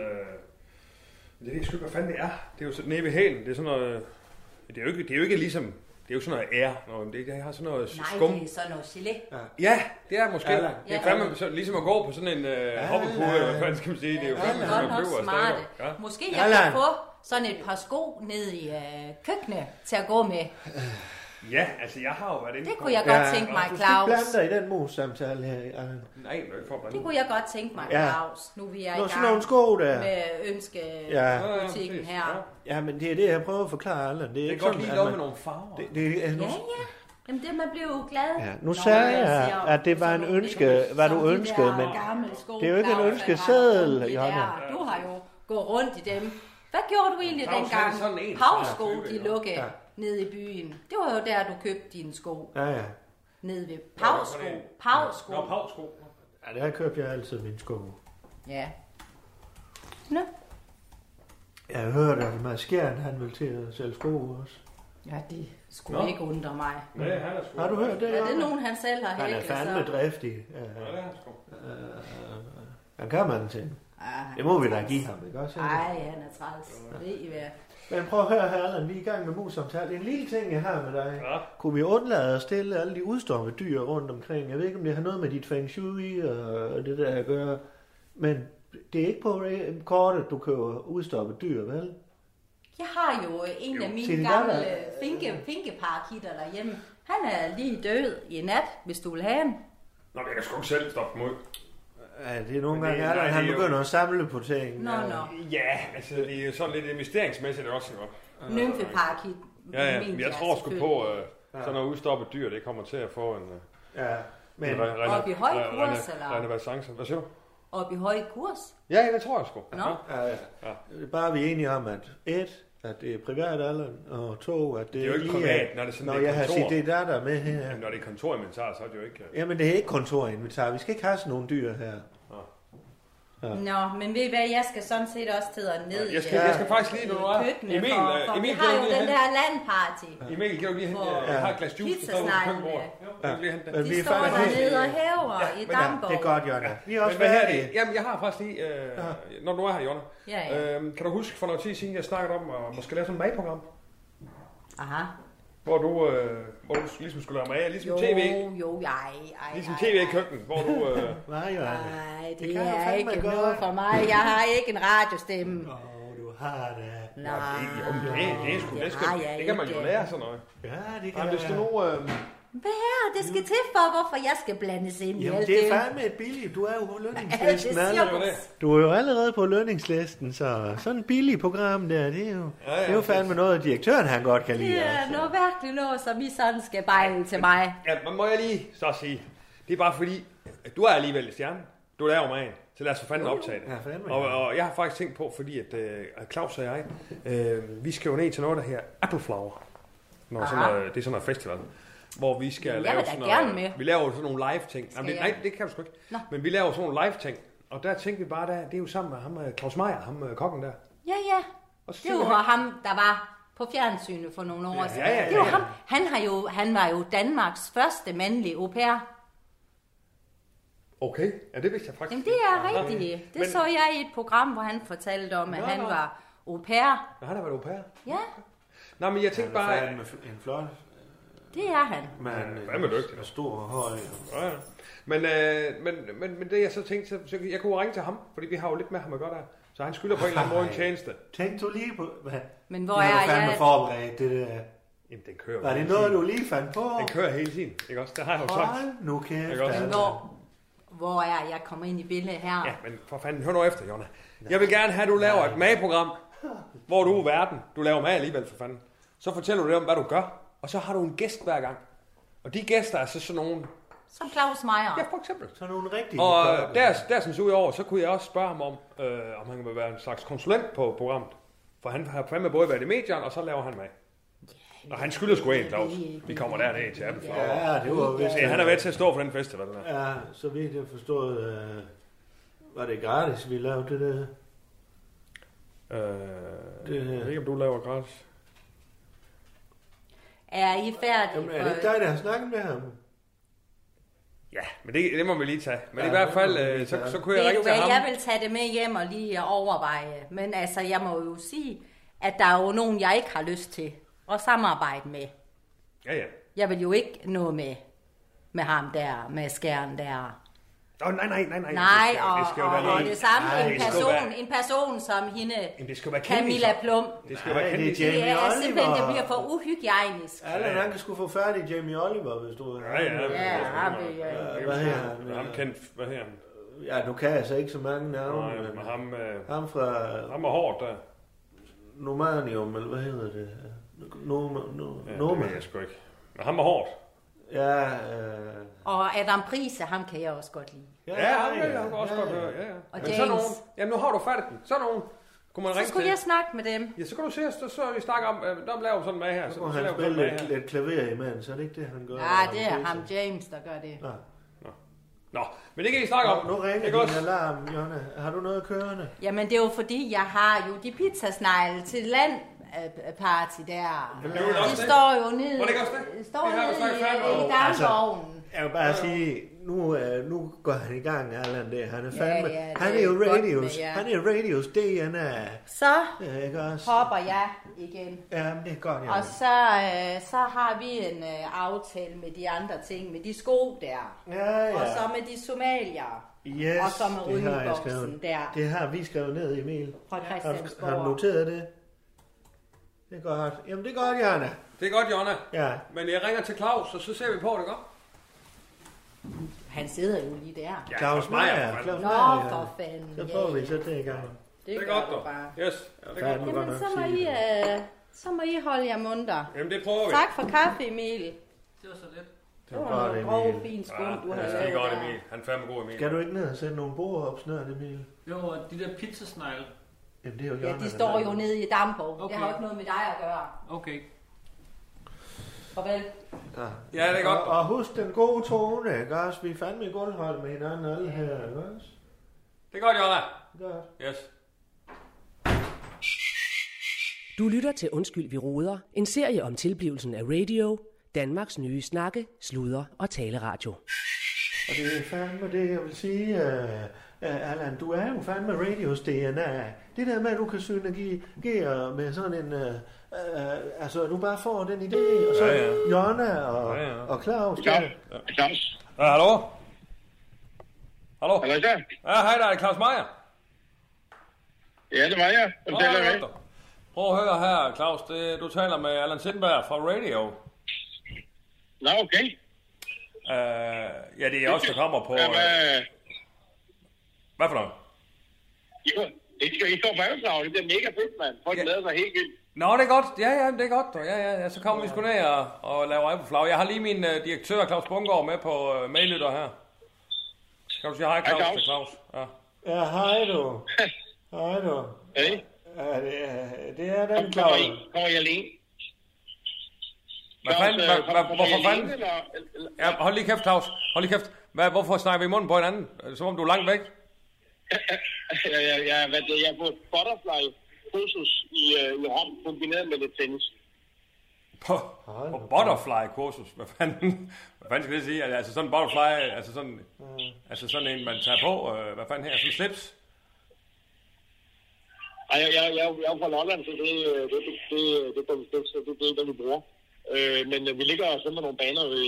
Jeg ved sgu ikke, hvad fanden det er. Det er jo sådan nede ved hælen. Det er sådan noget... Det er jo ikke, det er jo ikke ligesom... Det er jo sådan noget ære. Nå, men det, jeg har sådan noget skum. Nej, det er sådan noget gelé. Ja, det er måske. Ja, da. det er fandme sådan, ligesom at gå på sådan en øh, hoppepude, eller hvad fanden skal man sige. Det er jo Ja, fandme det er sådan, godt man nok køber smarte. stadig. Ja. Måske jeg Allan. kan få sådan et par sko ned i øh, køkkenet til at gå med. ja, altså jeg har jo været inde Det på- kunne jeg godt Ja. tænke mig, Du skal ikke Claus. blande dig i den mus-samtale her, Allan. Nej, det er ikke for at blande Det kunne jeg godt tænke mig, Ja. Claus. Nu vi er Nå, i sådan nogle gang sko der. med Ja. ønskebutikken præcis. her. Ja. Ja, men det er det, jeg prøver at forklare, Allan. Det er, Jeg kan ikke godt sådan, lide at lov man- med nogle farver. Det, det, er, nu, Ja, ja. Jamen det, man bliver jo glad. Ja, nu sagde jeg, at det var en ønske- hvad du ønskede, men det er jo ikke en ønskeseddel, Jonna. Jonna. Du har jo gået rundt i dem. Hvad gjorde du egentlig Claus, han er dengang sådan en, Havsko, der er type, de ikke? lukkede ned i byen? Det var jo der, du købte dine sko. ja, ja. Nede ved Nå, det Pavsko. var Pavsko. Nå, pavsko. ja der købte jeg altid mine sko. Ja. Nå. Jeg hørte, at Mads Skjern, han ville til at sælge sko også. Ja, det skulle Nå. ikke undre mig. Ja, han er sgu. Har du hørt det? Er det Jonna? nogen, altså- han selv har Han er hækket, fandme så? driftig. Ja, Ja, det er han sgu. han kan mange ting. Ej, Det må vi da give ham, ikke også? Allan? Ah. Ej, han er træls. Ved I hvad? Men prøv at høre her, Allan, vi er i gang med musamtale. En lille ting, jeg har med dig. Ja. Kunne vi undlade at stille alle de udstoppede øh, dyr rundt omkring? Jeg ved ikke, om det har noget med dit feng shui og det der at gøre. Men Det er ikke på re- kortet, du køber udstoppet dyr, vel? Jeg har jo øh, en af til mine din gamle datter. finke, finkeparkitter derhjemme. Han er lige død i nat, hvis du vil have ham. Nå, men jeg kan sgu ikke selv stoppe mod. Ja, det er nogle Men det- gange, er der, nej, at han det er jo- begynder at samle på ting. Nå, Ja. nå. Ja, altså det er sådan lidt investeringsmæssigt også, ikke? Nymfeparakit. Ja, ja, mente men jeg tror sgu selvfølgelig. på, øh, sådan noget udstoppet dyr, det kommer til at få en... Øh, Ja, men... en re- rena- Op i høj re- kurs, rena- eller? Renaissance. Hvad siger du? Op i høj kurs. Ja, ja, det tror jeg sgu. Nå. Ja. Ja, ja. Bare vi er enige om, at et, at det er privat alderen, og to, at det, Det er jo ikke lige privat, når det er sådan, Nå, det er jeg har set kontor. det der, der er med Jamen, her. når det er kontorinventar, så er det jo ikke... øh, Jamen, det er ikke kontorinventar. Vi skal ikke have sådan nogle dyr her. Nå, men ved I hvad, jeg skal sådan set også til at ned Jeg skal, i, jeg skal faktisk lige, når du er... i køkkenet, Emil, for, øh, for Emil, vi har kan jo du lige den hente- der landparty. Emil, kan du lige hente... Hvor- øh, Jeg har et glas juice, der står ude på Pizzasneglene. køkkenbordet. Jo, jeg kan lige hente den. Men De vi er står faktisk helt- dernede og hæver i Ja, damper. det er godt, Jonna. Vi er Men også hvad her er færdige. det? Jamen, jeg har faktisk lige... Øh, når du er her, Jonna. Ja, ja. Øhm, kan du huske for noget tid siden, jeg snakkede om at måske lave sådan et madprogram? Aha. Hvor du, øh, hvor du ligesom skulle lave mad, ligesom Jo, tv, jo, ej, ej, ligesom ej, tv i ej. køkkenet, hvor du... Øh, Hvad, Jonna? Nej, det, Det kan jeg er fandme ikke godt. noget for mig. Jeg har ikke en radiostemme. Åh, du har det. Nej. jo, men det, det er sgu, det, skal, har jeg det kan man jo ikke. lære sådan noget. Ja, det kan Jamen, hvis du være. nu... Øh, Hvad er det skal til for, hvorfor jeg skal blandes ind i Jamen, alt det det? er fandme et billigt. Du er jo på Alt det lønningslisten. siger allerede. man. Du er jo allerede på lønningslisten, så sådan et billigt program der, det er jo, ja, ja, det er jo fandme noget, direktøren han godt kan lide. Det er også. noget virkelig noget, som I sådan skal bejle til mig. ja, men må jeg lige så sige, det er bare fordi, at du er alligevel stjerne. Du laver magen, så lad os for fanden optage det. Ja, fandme, ja. og, og, jeg har faktisk tænkt på, fordi at, øh, at Claus og jeg, øh, vi skal jo ned til noget, der her Appleflower. Når sådan Aha. noget, det er sådan noget festival. Hvor vi skal Jeg vil lave da sådan gerne noget, med. Vi laver jo sådan nogle live ting. Jamen, det, jeg? nej, det kan du sgu ikke. Nå. Men vi laver sådan nogle live ting. Og der tænkte vi bare, der, det er jo sammen med ham, øh, Claus Meier, ham øh, kokken der. Ja, ja. Og så Det tænker var jeg- ham, der var på fjernsynet for nogle år siden. ja, ja, Det var ja. ham. Han, har jo, han var jo Danmarks første mandlige au pair. Okay, ja, det vidste jeg faktisk. Jamen, det er rigtigt. Det Men- så jeg i et program, hvor han fortalte om, at Nå, han nå. var au pair. Ja, han har været au pair. Ja, Nej, men jeg tænkte Han er bare... fandme f- en flot det er han. mand. Hvad med dygtig? En stor og høj. Ja, ja. Men, øh, men, men, men det jeg så tænkte, så, så jeg kunne jo ringe til ham, fordi vi har jo lidt med ham at gøre der. Så han skylder på en eller anden måde en Ej. tjeneste. Tænk du lige på... Hvad? Men hvor Det har er du fandme jeg- forberedt det der. Jamen, den kører. Var jo det hele noget, tiden. du lige fandt på? Den kører hele tiden, ikke også? Det har jeg jo sagt. Hold nu kæft. Ikke også? altså. Hvor, hvor er jeg kommer ind i billedet her? Ja, men for fanden, hør nu efter, Jonna. Jeg vil gerne have, at du laver et madprogram, hvor du er verden. Du laver mad alligevel, for fanden. Så fortæller du dem, hvad du gør, og så har du en gæst hver gang. Og de gæster er så sådan nogle... Som Claus Meier. Ja, for eksempel. Så nogle rigtige... Og kokke. øh, der, der synes ud over, så kunne jeg også spørge ham om, øh, om han vil være en slags konsulent på programmet. For han har fandme både været i medierne, og så laver han mig. Og han skylder sgu en, Claus. Vi kommer derned til Appleflower. Ja, Ja, det var vist... han er været til at stå for den festival. Der. Øh, Ja, så vidt jeg forstod... Øh, var det gratis, vi lavede det der? Øh, Det- jeg ved ikke, om du laver græs. Er I færdige? Jamen, er det ikke dig, der har snakket med ham? Ja, men det, det må vi lige tage. Men ja, Ja, i hvert det fald, må vi lige øh, så, tage. så kunne jeg Ved du ringe til hvad, ham. jeg vil tage det med hjem og lige overveje. Men altså, jeg må jo sige, at der er jo nogen, jeg ikke har lyst til at samarbejde med. Ja, ja. Jeg vil jo ikke nå med, med ham der, med skæren der. Nå, nej, nej, nej, nej. Nej, det skal, og, det skal jo og, være og lige- det samme, Nej, en det skal jo person, være- en person som hende, Jamen, det skal jo være Camilla kendiser. Plum. Det skal jo være Nej, det kendt. er Det Jamie er simpelthen, det bliver Oliver. for uhygiejnisk. Allan, han kan sgu få færdig Jamie Oliver, hvis du... Ja, ja. Ja, har vi, ja. Hvad her? han? Ham kendt, hvad her? Ja, nu kan jeg altså ikke så mange navne. Nej, men- ham, øh, Ham fra ham er hårdt der. Nomanium, eller hvad hedder det? Noma, no, Ja, ja, det Noma. ved jeg sgu ikke. Men ham er hårdt. Ja, øh, Og Adam Prise, ham kan jeg også godt lide. Ja, ja, ham kan jeg også godt høre. Ja, ja. Og Men sådan James. nogen, jamen nu har du fat i den. Sådan nogen kunne man Så ringe skulle til. jeg snakke med dem. Ja, så kan du se, så, så vi snakker om, øh, der laver vi sådan med her. Så Så, må så han laver vi sådan spille med lidt, her. lidt klaver imens, er det ikke det, han gør? Ja, Ah, det er ham James, der gør det. Nå, Nå, men det kan I snakke om. nu ringer Ikke din også? alarm, Jonna. Har du noget kørende? Jamen, det er jo fordi, jeg har jo de pizzasnegle til land øh, party der. Jamen, det er vel De også det. står jo nede, Var det ikke også det? står Det har vi nede snakket færdigt i, om. i Altså. dampvognen. Jeg vil bare sige, nu, øh, nu går han i gang, Allan, det. Han er fandme... ja, det han er er jo godt med radios, jer. han er radios DNA. Så Ja, øh, ikke også? hopper jeg igen. Jamen, det er godt, Jonna. Og så, øh, så har vi en øh, aftale med de andre ting, med de sko der. Ja, ja. Og så med de somalier. Yes, og så med det har jeg ryddeboksen skrevet. der Det har vi skrevet ned, Emil. fra Har, du- Christiansborg. har du noteret det? Det er godt. Jamen, det er godt, Jørgen. Det er godt, Jonna. Ja, Men jeg ringer til Claus, og så ser vi på det, godt? Han sidder jo lige der. Ja, Claus Meier. Claus Nå, Meier, for ja. fanden. Så ja, får vi ja. så det i gang. Det er gør godt, du dog. bare. Yes. Ja, det er godt. Fandme godt Jamen, nok så må, I, sige det. øh, så må I holde jer munter. Jamen, det prøver vi. Tak for kaffe, Emil. Det var så lidt. Det var godt, grov, Emil. fin Ja, skum, du har det er lavet skide godt, der. Emil. Han er fandme god, Emil. Skal du ikke ned og sætte nogle bord op snart, Emil? Jo, og de der pizzasnegle. Jamen, det er jo Ja, Jørgen. de står jo nede i Damborg. Okay. Det Okay. har jo ikke noget med dig at gøre. Okay. Farvel. Ja, det er godt. Og, og husk den gode tone, ikke også? Vi er fandme i guldhold med hinanden alle her, ikke også? Det er godt, Jonna. Godt. Yes. Du lytter til Undskyld, vi roder, en serie om tilblivelsen af radio, Danmarks nye snakke, sludre og taleradio. Og det er fandme det, jeg vil sige, uh, uh, Allan, du er jo fandme radios DNA. Det der med, at du kan synergere med sådan en... Uh, uh, altså, du bare får den idé, og så ja, Ja, ja. ja. Jonna og, ja, Ja, ja. ja. og Claus. Ja. Der. Claus. Ja, hallo? Hallo? Hvad så? Ja, hej, der er Claus Meier. Ja, det var jeg. Hvem taler jeg Nå, med? godt, dog. Prøv at høre her, Claus. Det, du taler med Allan Sindberg fra Radio. Nå, okay. Uh, ja, det er også der kommer på... Jamen, Uh, øh, hvad for noget? I, I, skal- I står på Amsterdam. Det er mega fedt, mand. Folk Ja. glæder sig helt vildt. Nå, det er godt. Ja, ja, det er godt. dog. Ja, ja, ja. Så kommer vi sgu ned og, og laver af på flag. Jeg har lige min uh, direktør, Claus Bungård, med på uh, medlytter her. Skal du sige hej, Claus? Claus. til Claus. Ja. Ja, hej du. Hej du. Hey, Ja, det, er, det er den, kommer, I, Claus. kommer I alene? Hvad Claus, fanden? øh, Hvad, kom- hvad, kommer I hvorfor alene, fanden? eller- eller- Ja, hold lige kæft, Claus. Hold lige kæft. Hvad, hvorfor snakker vi i munden på hinanden? Er det Som om du er langt væk. Ja, ja, ja, hvad det, jeg er på butterfly kursus i, øh, i Rom, kombineret med lidt tennis. På, på butterfly-kursus. Hvad fanden, hvad fanden skal det sige? Altså sådan en butterfly, altså sådan, altså sådan en, man tager på. øh, Hvad fanden her? Sådan en slips. Ej, jeg, jeg, jeg, jeg er fra Lolland, så det, øh, det, det, det, det, det, det, det, det, det er det, vi bruger. Øh, men øh, vi ligger og med nogle baner ved,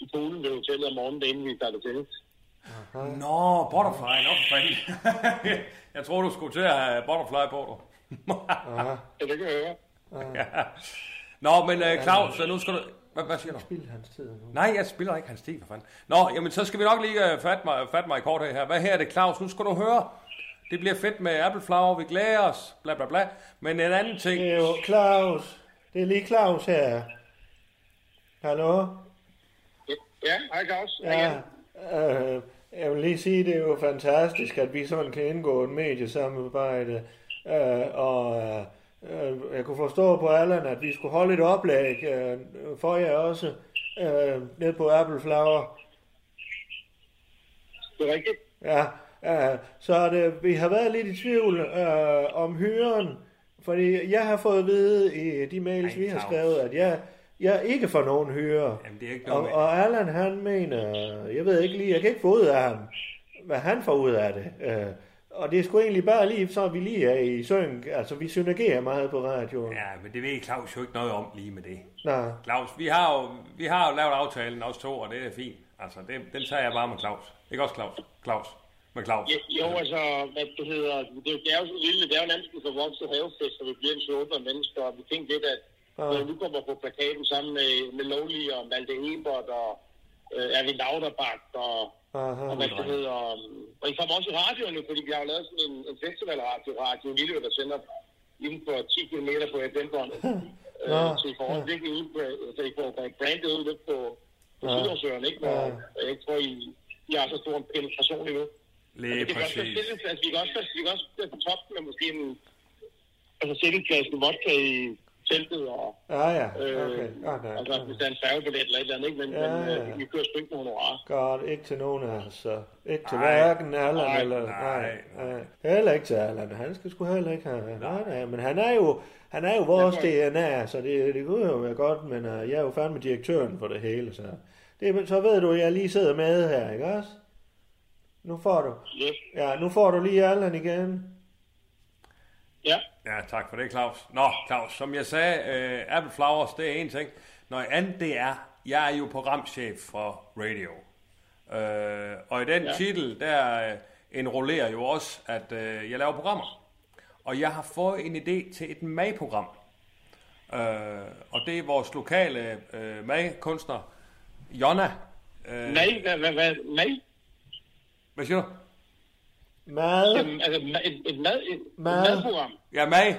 i poolen ved hotellet om morgenen, da inden vi starter tennis. Nå, butterfly. Nå, for fanden. jeg tror, du skulle til at have butterfly på, du. Ja, det kan jeg høre. ja. Nå, men øh, Claus, så nu skal du... Hvad, hvad siger du? Spild hans tid nu. Nej, jeg spiller ikke hans stil, for fanden. Nå, jamen så skal vi nok lige øh, fatte mig, fatte mig i kortet her. Hvad her er det, Claus? Nu skal du høre. Det bliver fedt med æbleflager, vi glæder os, bla bla bla. Men en anden ting... Det er jo Claus. Det er lige Claus her. Hallo? Ja, hej Claus. Ja, øh, jeg vil lige sige, det er jo fantastisk, at vi sådan kan indgå et mediesamarbejde. Øh, og øh, øh, jeg kunne forstå på Allan, at vi skulle holde et oplæg øh, for jer også, øh, ned på Apple Flower. Det er rigtigt. Ja, øh, så det, vi har været lidt i tvivl øh, om hyren, fordi jeg har fået at vide i de mails, Ej, vi har Claus. skrevet, at jeg, jeg ikke får nogen hyre. Jamen, det er ikke Og, noget med... og Allan, han mener, jeg ved ikke lige, jeg kan ikke få ud af ham, hvad han får ud af det. Øh, og det er sgu egentlig bare lige, så vi lige er i synk. Altså, vi synergerer meget på radioen. Ja. Ja, men det ved Claus jo ikke noget om lige med det. Nå, Claus, vi har jo, vi har jo lavet aftalen, os to, og det er fint. Altså, det, den tager jeg bare med Claus. Ikke også Claus? Claus. Med Claus. Ja, Jo, altså, hvad det hedder, det er jo- det er jo sådan en lille, det er jo næsten så vokset havefest, og vi bliver en 700 mennesker, og vi tænkte lidt, at når vi nu kommer på plakaten sammen med, med Lowly og Malte Ebert og øh, Erwin Lauterbach og, aha. og hvad det hedder, øhm, og I kommer også i radioen nu, fordi vi har jo lavet sådan en, en festivalradio, radio Lille, der sender inden for 10 km på FM-båndet. Nå, Øh, så I får også virkelig ud, på- så I får brandet ud lidt på, på Sydhavsøerne, ikke? Hvor, jeg tror, I, I har så stor en penetration endnu. Lige Det kan også være præcis. stillingsklassen. Vi kan også, vi kan også være på toppen med måske en... Altså stillingsklassen vodka i teltet og... Ja, ja. Øh, Okay. Godt, altså, nok. hvis der er en færgebillet eller et eller andet, ikke? Men, Ja, ja, men øh, ja. vi kører sgu ikke nogen honorar. Godt, ikke til nogen af os. så. Ikke til Nej. hverken Allan Nej, eller... nej, nej. Heller ikke til Allan. Han skal sgu heller ikke have... Nej, nej, men han er jo, han er jo vores DNA, så det, det kunne jo være godt, men uh, jeg er jo fandme direktøren for det hele, så... Det, men så ved du, at jeg lige sidder med her, ikke også? Nu får du... Yes. Ja, nu får du lige Allan igen. Ja. Ja, tak for det, Claus. Nå, Claus, som jeg sagde, øh, Apple Flowers, det er en ting. Noget andet, det er, jeg er jo programchef for radio. Øh, og i den Ja. ja. titel, der øh, enrollerer jo også, at øh, jeg laver programmer. Og jeg har fået en idé til et madprogram. Øh, og det er vores lokale øh, madkunstner, Jonna. Øh, Mad, hvad, hvad, hvad, mad? Hvad siger du? Mad. Jamen, altså, ma- et, et, mad, et, Mad. mad. et madprogram. Ja, mad.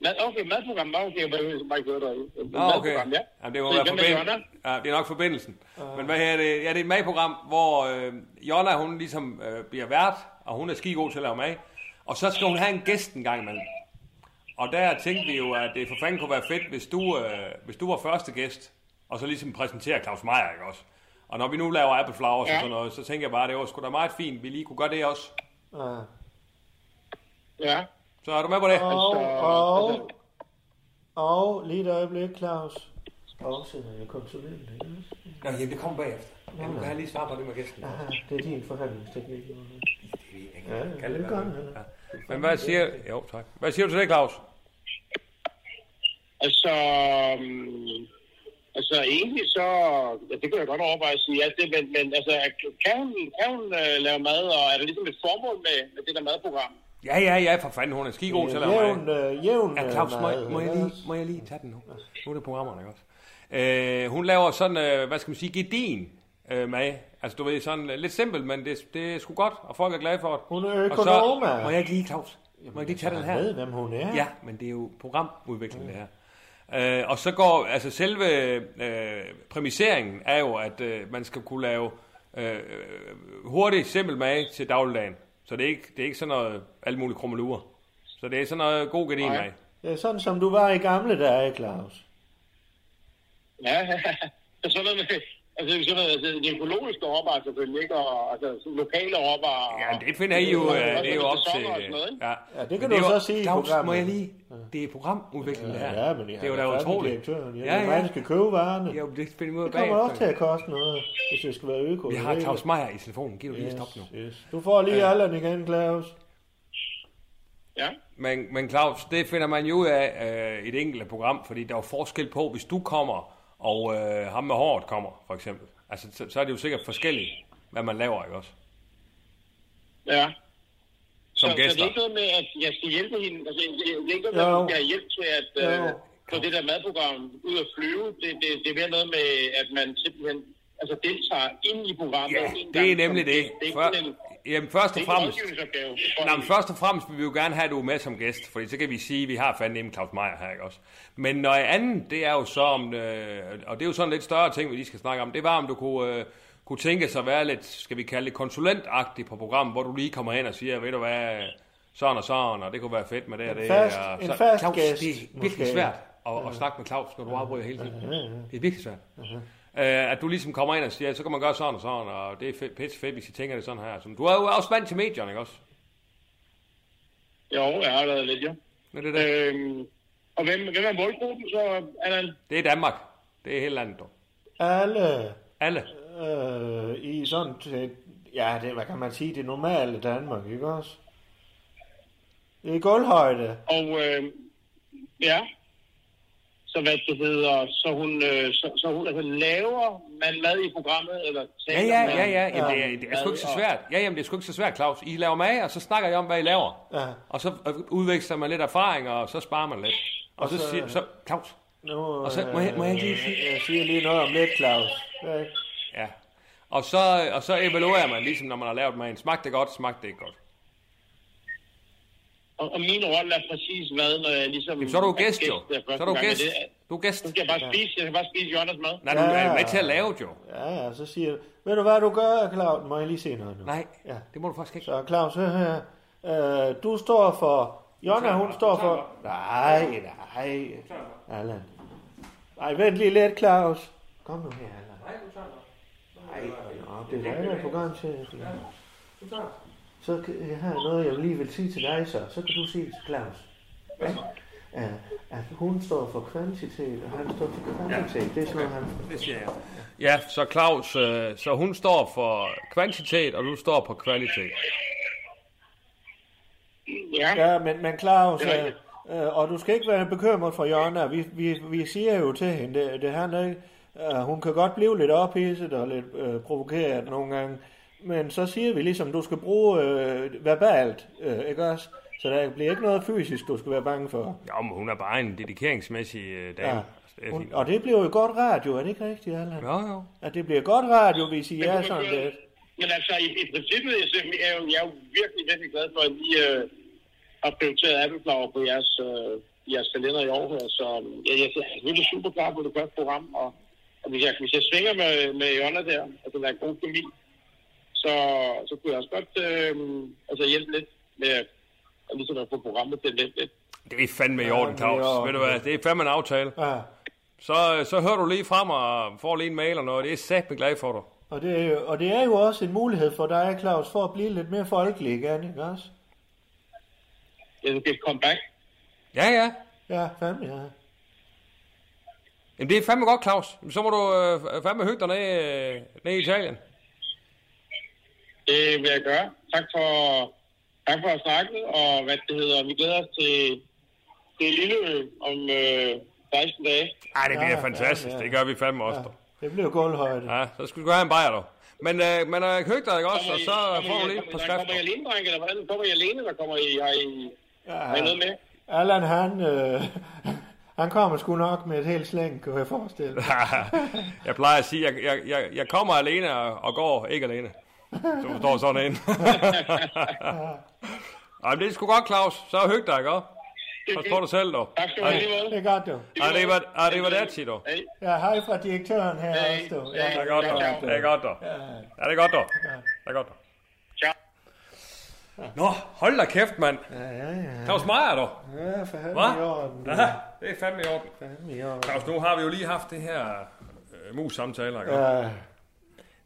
Mad, okay, madprogram. Okay, hvad hvad jeg gør der? Et Nå, okay. madprogram, ja. Jamen, det må Så være hvem er forbindelsen. Jonna? Ah. Ja, det er nok forbindelsen. Men hvad her er det? Ja, det er et madprogram, hvor øh, Jonna, hun ligesom øh, bliver vært, og hun er skigod til at lave mad. Og så skal hun have en gæst en gang imellem. Og der tænkte vi jo, at det for fanden kunne være fedt, hvis du, øh, hvis du var første gæst, og så ligesom præsenterer Claus Meier, ikke også? Og når vi nu laver Apple Flowers ja. Ja. og sådan noget, så tænker jeg bare, at det var sgu da meget fint, vi lige kunne gøre det også. Ja. Ja. Altså, Så er du med på det? Og, og, og lige et øjeblik, Claus. Og sender jeg konsulenten, ikke? Nej, jamen, det kommer bagefter. Ja, nu kan jeg lige svare på det med gæsten. Ja, det er din forhandlingsteknik. Jonna. Ja, det kan det være. godt, eller? Ja. Men hvad siger, jo, tak. hvad siger du til det, Claus? Altså, øhm, altså egentlig så, ja, det kunne jeg godt overveje at sige, ja, det, men, men altså, er- kan hun, kan hun øh, lave mad, og er der ligesom et formål med, med det der madprogram? Ja, ja, ja, for fanden, hun er skigod til at lave mad. Jævn, øh, jævn Ja, Claus, må, jeg- må, jeg lige, må jeg lige tage den nu? Nu er det programmerne, ikke også? Øh, hun laver sådan, øh, hvad skal man sige, gedin øh, mad. Altså, du ved, sådan øh, lidt simpelt, men det, det er sgu godt, og folk er glade for det. Hun er Og så, økonoma. må jeg ikke lige, Claus? Må jeg ikke lige tage den her? Jeg ved, hvem hun er. Ja, men det er jo programudvikling, det her. Øh, og så går, altså selve øh, præmisseringen er jo, at øh, man skal kunne lave øh, hurtig, simpel mad til dagligdagen. Så det er ikke, det er ikke sådan noget alt muligt krummelure. Så det er sådan noget god gardin mad. Det er sådan, som du var i gamle dage, Claus. Ja, ja. sådan noget med, altså, sådan noget, altså, de økologiske råvarer selvfølgelig, ikke? Og, altså, sådan lokale råvarer. Ja, det finder I jo, Og- øh, og- det er jo og op til... sæsoner og sådan noget, ikke? Ja, Ja, det Men kan er du jo- så sige i Claus, må programmet. jeg lige... Det er programudvikling, det her. Ja, men jeg det er jo da utroligt. Ja, Ja, ja. ja. Man skal købe varerne. Jo, det finder vi ud af Det kommer også til bagefter. at koste noget, hvis det skal være øko. Vi har Claus Meier i telefonen. Giv du lige Yes, stop nu. yes. Du får lige alderen igen, Claus. Ja. Men, men Claus, det finder man jo ud af øh, i det enkelte program, fordi der er jo forskel på, hvis du kommer, og øh, ham med håret kommer, for eksempel. Altså, så, så er det jo sikkert forskelligt, hvad man laver, ikke også? Ja. Som så, så det gæster. er ikke noget med, at jeg skal hjælpe hende. Altså, det det er ikke noget med, Jo. at hun skal have hjælp til at øh, Jo. få det der madprogram ud at flyve. Det, det, det er mere noget med, at man simpelthen altså, deltager ind i programmet. Ja, en gang det er som nemlig det. gæst. Det er ikke Før, sådan en, jamen, først det og er ikke en fremmest... rådgivningsopgave. Nå, men først og fremmest vil vi jo gerne have, at du er med som gæst, fordi så kan vi sige, at vi har fandme en Claus Meier her, ikke også? Men noget andet, det er jo så om, øh, og det er jo sådan lidt større ting, vi lige skal snakke om, det var, om du kunne, øh, kunne tænke sig at være lidt, skal vi kalde det konsulentagtig på programmet, hvor du lige kommer hen og siger, ved du hvad, sådan og sådan, og det kunne være fedt med det og En det. fast- og en så, fast Claus, gæst, det er virkelig måske. Mhm. svært at, at snakke med Claus, når du afbryder hele tiden. Det er virkelig svært. Øh, at du ligesom kommer ind og siger, så kan man gøre sådan og sådan, og det er fedt, pisse fedt, hvis I tænker det sådan her. Så Du er jo også vant til medierne, ikke også? Jo, jeg har lavet lidt, jo. Men det, er det. Øhm, og hvem, hvem er målgruppen så, Allan? det er Danmark. Det er helt landet, dog. Alle Alle. øh, i sådan til, ja, det, hvad kan man sige, det normale Danmark, ikke også? Det er gulvhøjde. Og øh, ja, så hvad det hedder, så hun, øh, så, så hun altså, laver man mad i programmet, eller Ja, taler ja, man- ja, ja. Jamen, det, er, det er sgu ikke så svært. Ja, jamen, det er sgu ikke så svært, Claus. I laver mad, og så snakker I om, hvad I laver. Ja. Og så øh, udveksler man lidt erfaringer, og så sparer man lidt. Og, så, siger så, Claus. Nu, Og så- må jeg- må jeg ikke lige sige- Jeg siger lige noget om lidt, Claus. Ja, ikke? Ja. Og så, og så evaluerer man, ligesom når man har lavet maden. Smagte det godt, smagte det ikke godt. Og, og min rolle er præcis hvad, når jeg ligesom... Jamen, så er du gæst, jo. der første Så er du gang, gæst. det er- Du er gæst. Så skal jeg bare spise, jeg skal bare spise Jonas mad. Nej, du Ja. er med til at lave, det, jo. Ja, ja, så siger jeg, ved du hvad du gør, Claus? Må jeg lige se noget nu? Nej, Ja. det må du faktisk ikke. Så Claus, hør her. Øh, du står for... Jonna, hun står for... Nej, nej. Allan. Nej, vent lige lidt, Claus. Kom nu her, Allan. Nej, hold nu op. Det er dig, der er programchef. Ja. Så kan- jeg har noget, jeg lige vil sige til dig, så. Så kan du sige det til Claus. Ja? Ja, at hun står for kvantitet, og han står for kvantitet. Det er sådan noget, han... Det siger jeg. Ja, så Claus, øh, så hun står for kvantitet, og du står på kvalitet. Ja, Ja, men, men Claus, Det er øh, øh, og du skal ikke være bekymret for Jonna. Vi, vi, vi siger jo til hende, det, det handler ikke Ja, hun kan godt blive lidt ophidset og lidt øh, provokeret nogle gange. Men så siger vi ligesom, du skal bruge øh, verbalt, øh, ikke også? Så der bliver ikke noget fysisk, du skal være bange for. Jo, men hun er bare en dedikeringsmæssig øh, dame. Ja. Hun, og det bliver jo godt radio, er det ikke rigtigt, Allan? Jo, jo. At det bliver godt radio, hvis I er sådan lidt. Men altså, i, i princippet jeg, jeg, er jo- jeg er jo virkelig, virkelig glad for, at I øh, har prioriteret Appleflower på jeres, øh, jeres kalender i år. her. Så øh, jeg, jeg er selvfølgelig super klar på det første program, og, og hvis, jeg, hvis jeg svinger med, med Jonna der, og det er en god familie, så, så kunne jeg også godt øh, altså hjælpe lidt med at, ligesom at få programmet til lidt. lidt. Det er fandme i orden, det er i Claus. orden. Ved du hvad, det er fandme en aftale. Ja. Så, øh, så hører du lige frem og får lige en mail og noget. Det er satme glad for dig. Og det, er jo- og det er jo også en mulighed for dig, Claus, for at blive lidt mere folkelig igen, ikke også? Jeg skal komme back. Ja, ja. Ja, fandme, ja. Jamen, det er fandme godt, Claus. Så må du øh, fandme hygge dig ned, øh, ned i Italien. Det vil jeg gøre. Tak for, tak for at snakke, og hvad det hedder. Vi glæder os til, til Lilleø om øh, 16 dage. Ej, det bliver fantastisk. Det gør vi fandme også. Ja. Det bliver gulvhøjde. Ja, så skal du have en bajer, dog. Men, øh, men øh, hyg dig, ikke også? Og så får du lige på skrift. Kommer I alene, drenge, eller hvordan? Kommer I alene, eller kommer I, har I, har I noget med? Allan, han, øh, han kommer sgu nok med et helt slæng, kan jeg forestille mig. jeg plejer at sige, at jeg, jeg, jeg, jeg kommer alene og, og går ikke alene. Du forstår sådan en. Ej, men det er sgu godt, Claus. Så hyg dig, ikke? Så står du selv, dog. Tak skal Det er godt, du. Arrivederci, dog. Ja, hej fra direktøren her også, du. Ja, det er godt, dog. Det er godt, dog. Ja, det er godt, dog. Det er godt, dog. Nå, hold da kæft, mand. Claus Meier, dog. Ja, for Hva? helvede i orden, du. Ja, det er fandme i orden. Fandme i orden. Claus, nu har vi jo lige haft det her øh, mus-samtaler. ikke? Ja.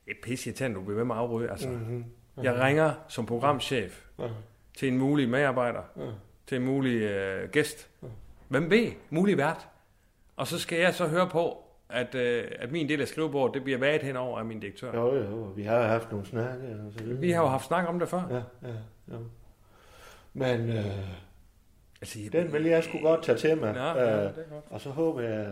Det er pisse irriterende, du bliver ved med at afryge. Altså. Mhm. Mm-hmm. Mhm. Jeg ringer som programchef Ja. til en mulig medarbejder, Ja. til en mulig øh, gæst. Hvem ved? Mulig vært. Og så skal jeg så høre på, at, øh, at min del af skrivebordet, det bliver vaget henover af min direktør. Jo, jo, vi har haft nogle snakke. Og så videre. Vi har jo haft snak om det før. Ja, ja, jo. Men øh, altså, den vil jeg sgu godt tage til mig. Ja, ja, det er Ah, godt. Og så håber jeg,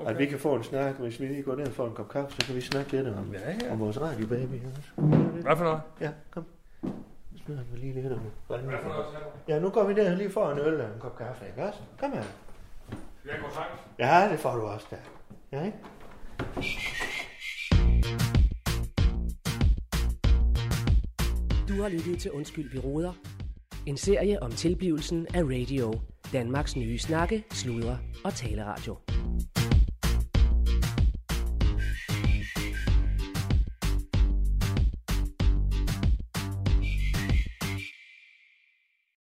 okay. at vi kan få en snak. Hvis vi lige går ned og får en kop kaffe, så kan vi snakke lidt om, Ja, ja. om vores radiobaby. også. Hvad for noget? Ja, kom. Nu smider han mig lige lidt om. Ja, nu går vi ned og lige får en øl og en kop kaffe, ikke også? Kom her. Jeg går tak. Ja, det får du også der. Ja, ikke? Du har lyttet til Undskyld, vi råder. En serie om tilblivelsen af radio. Danmarks nye snakke, sludre og taleradio.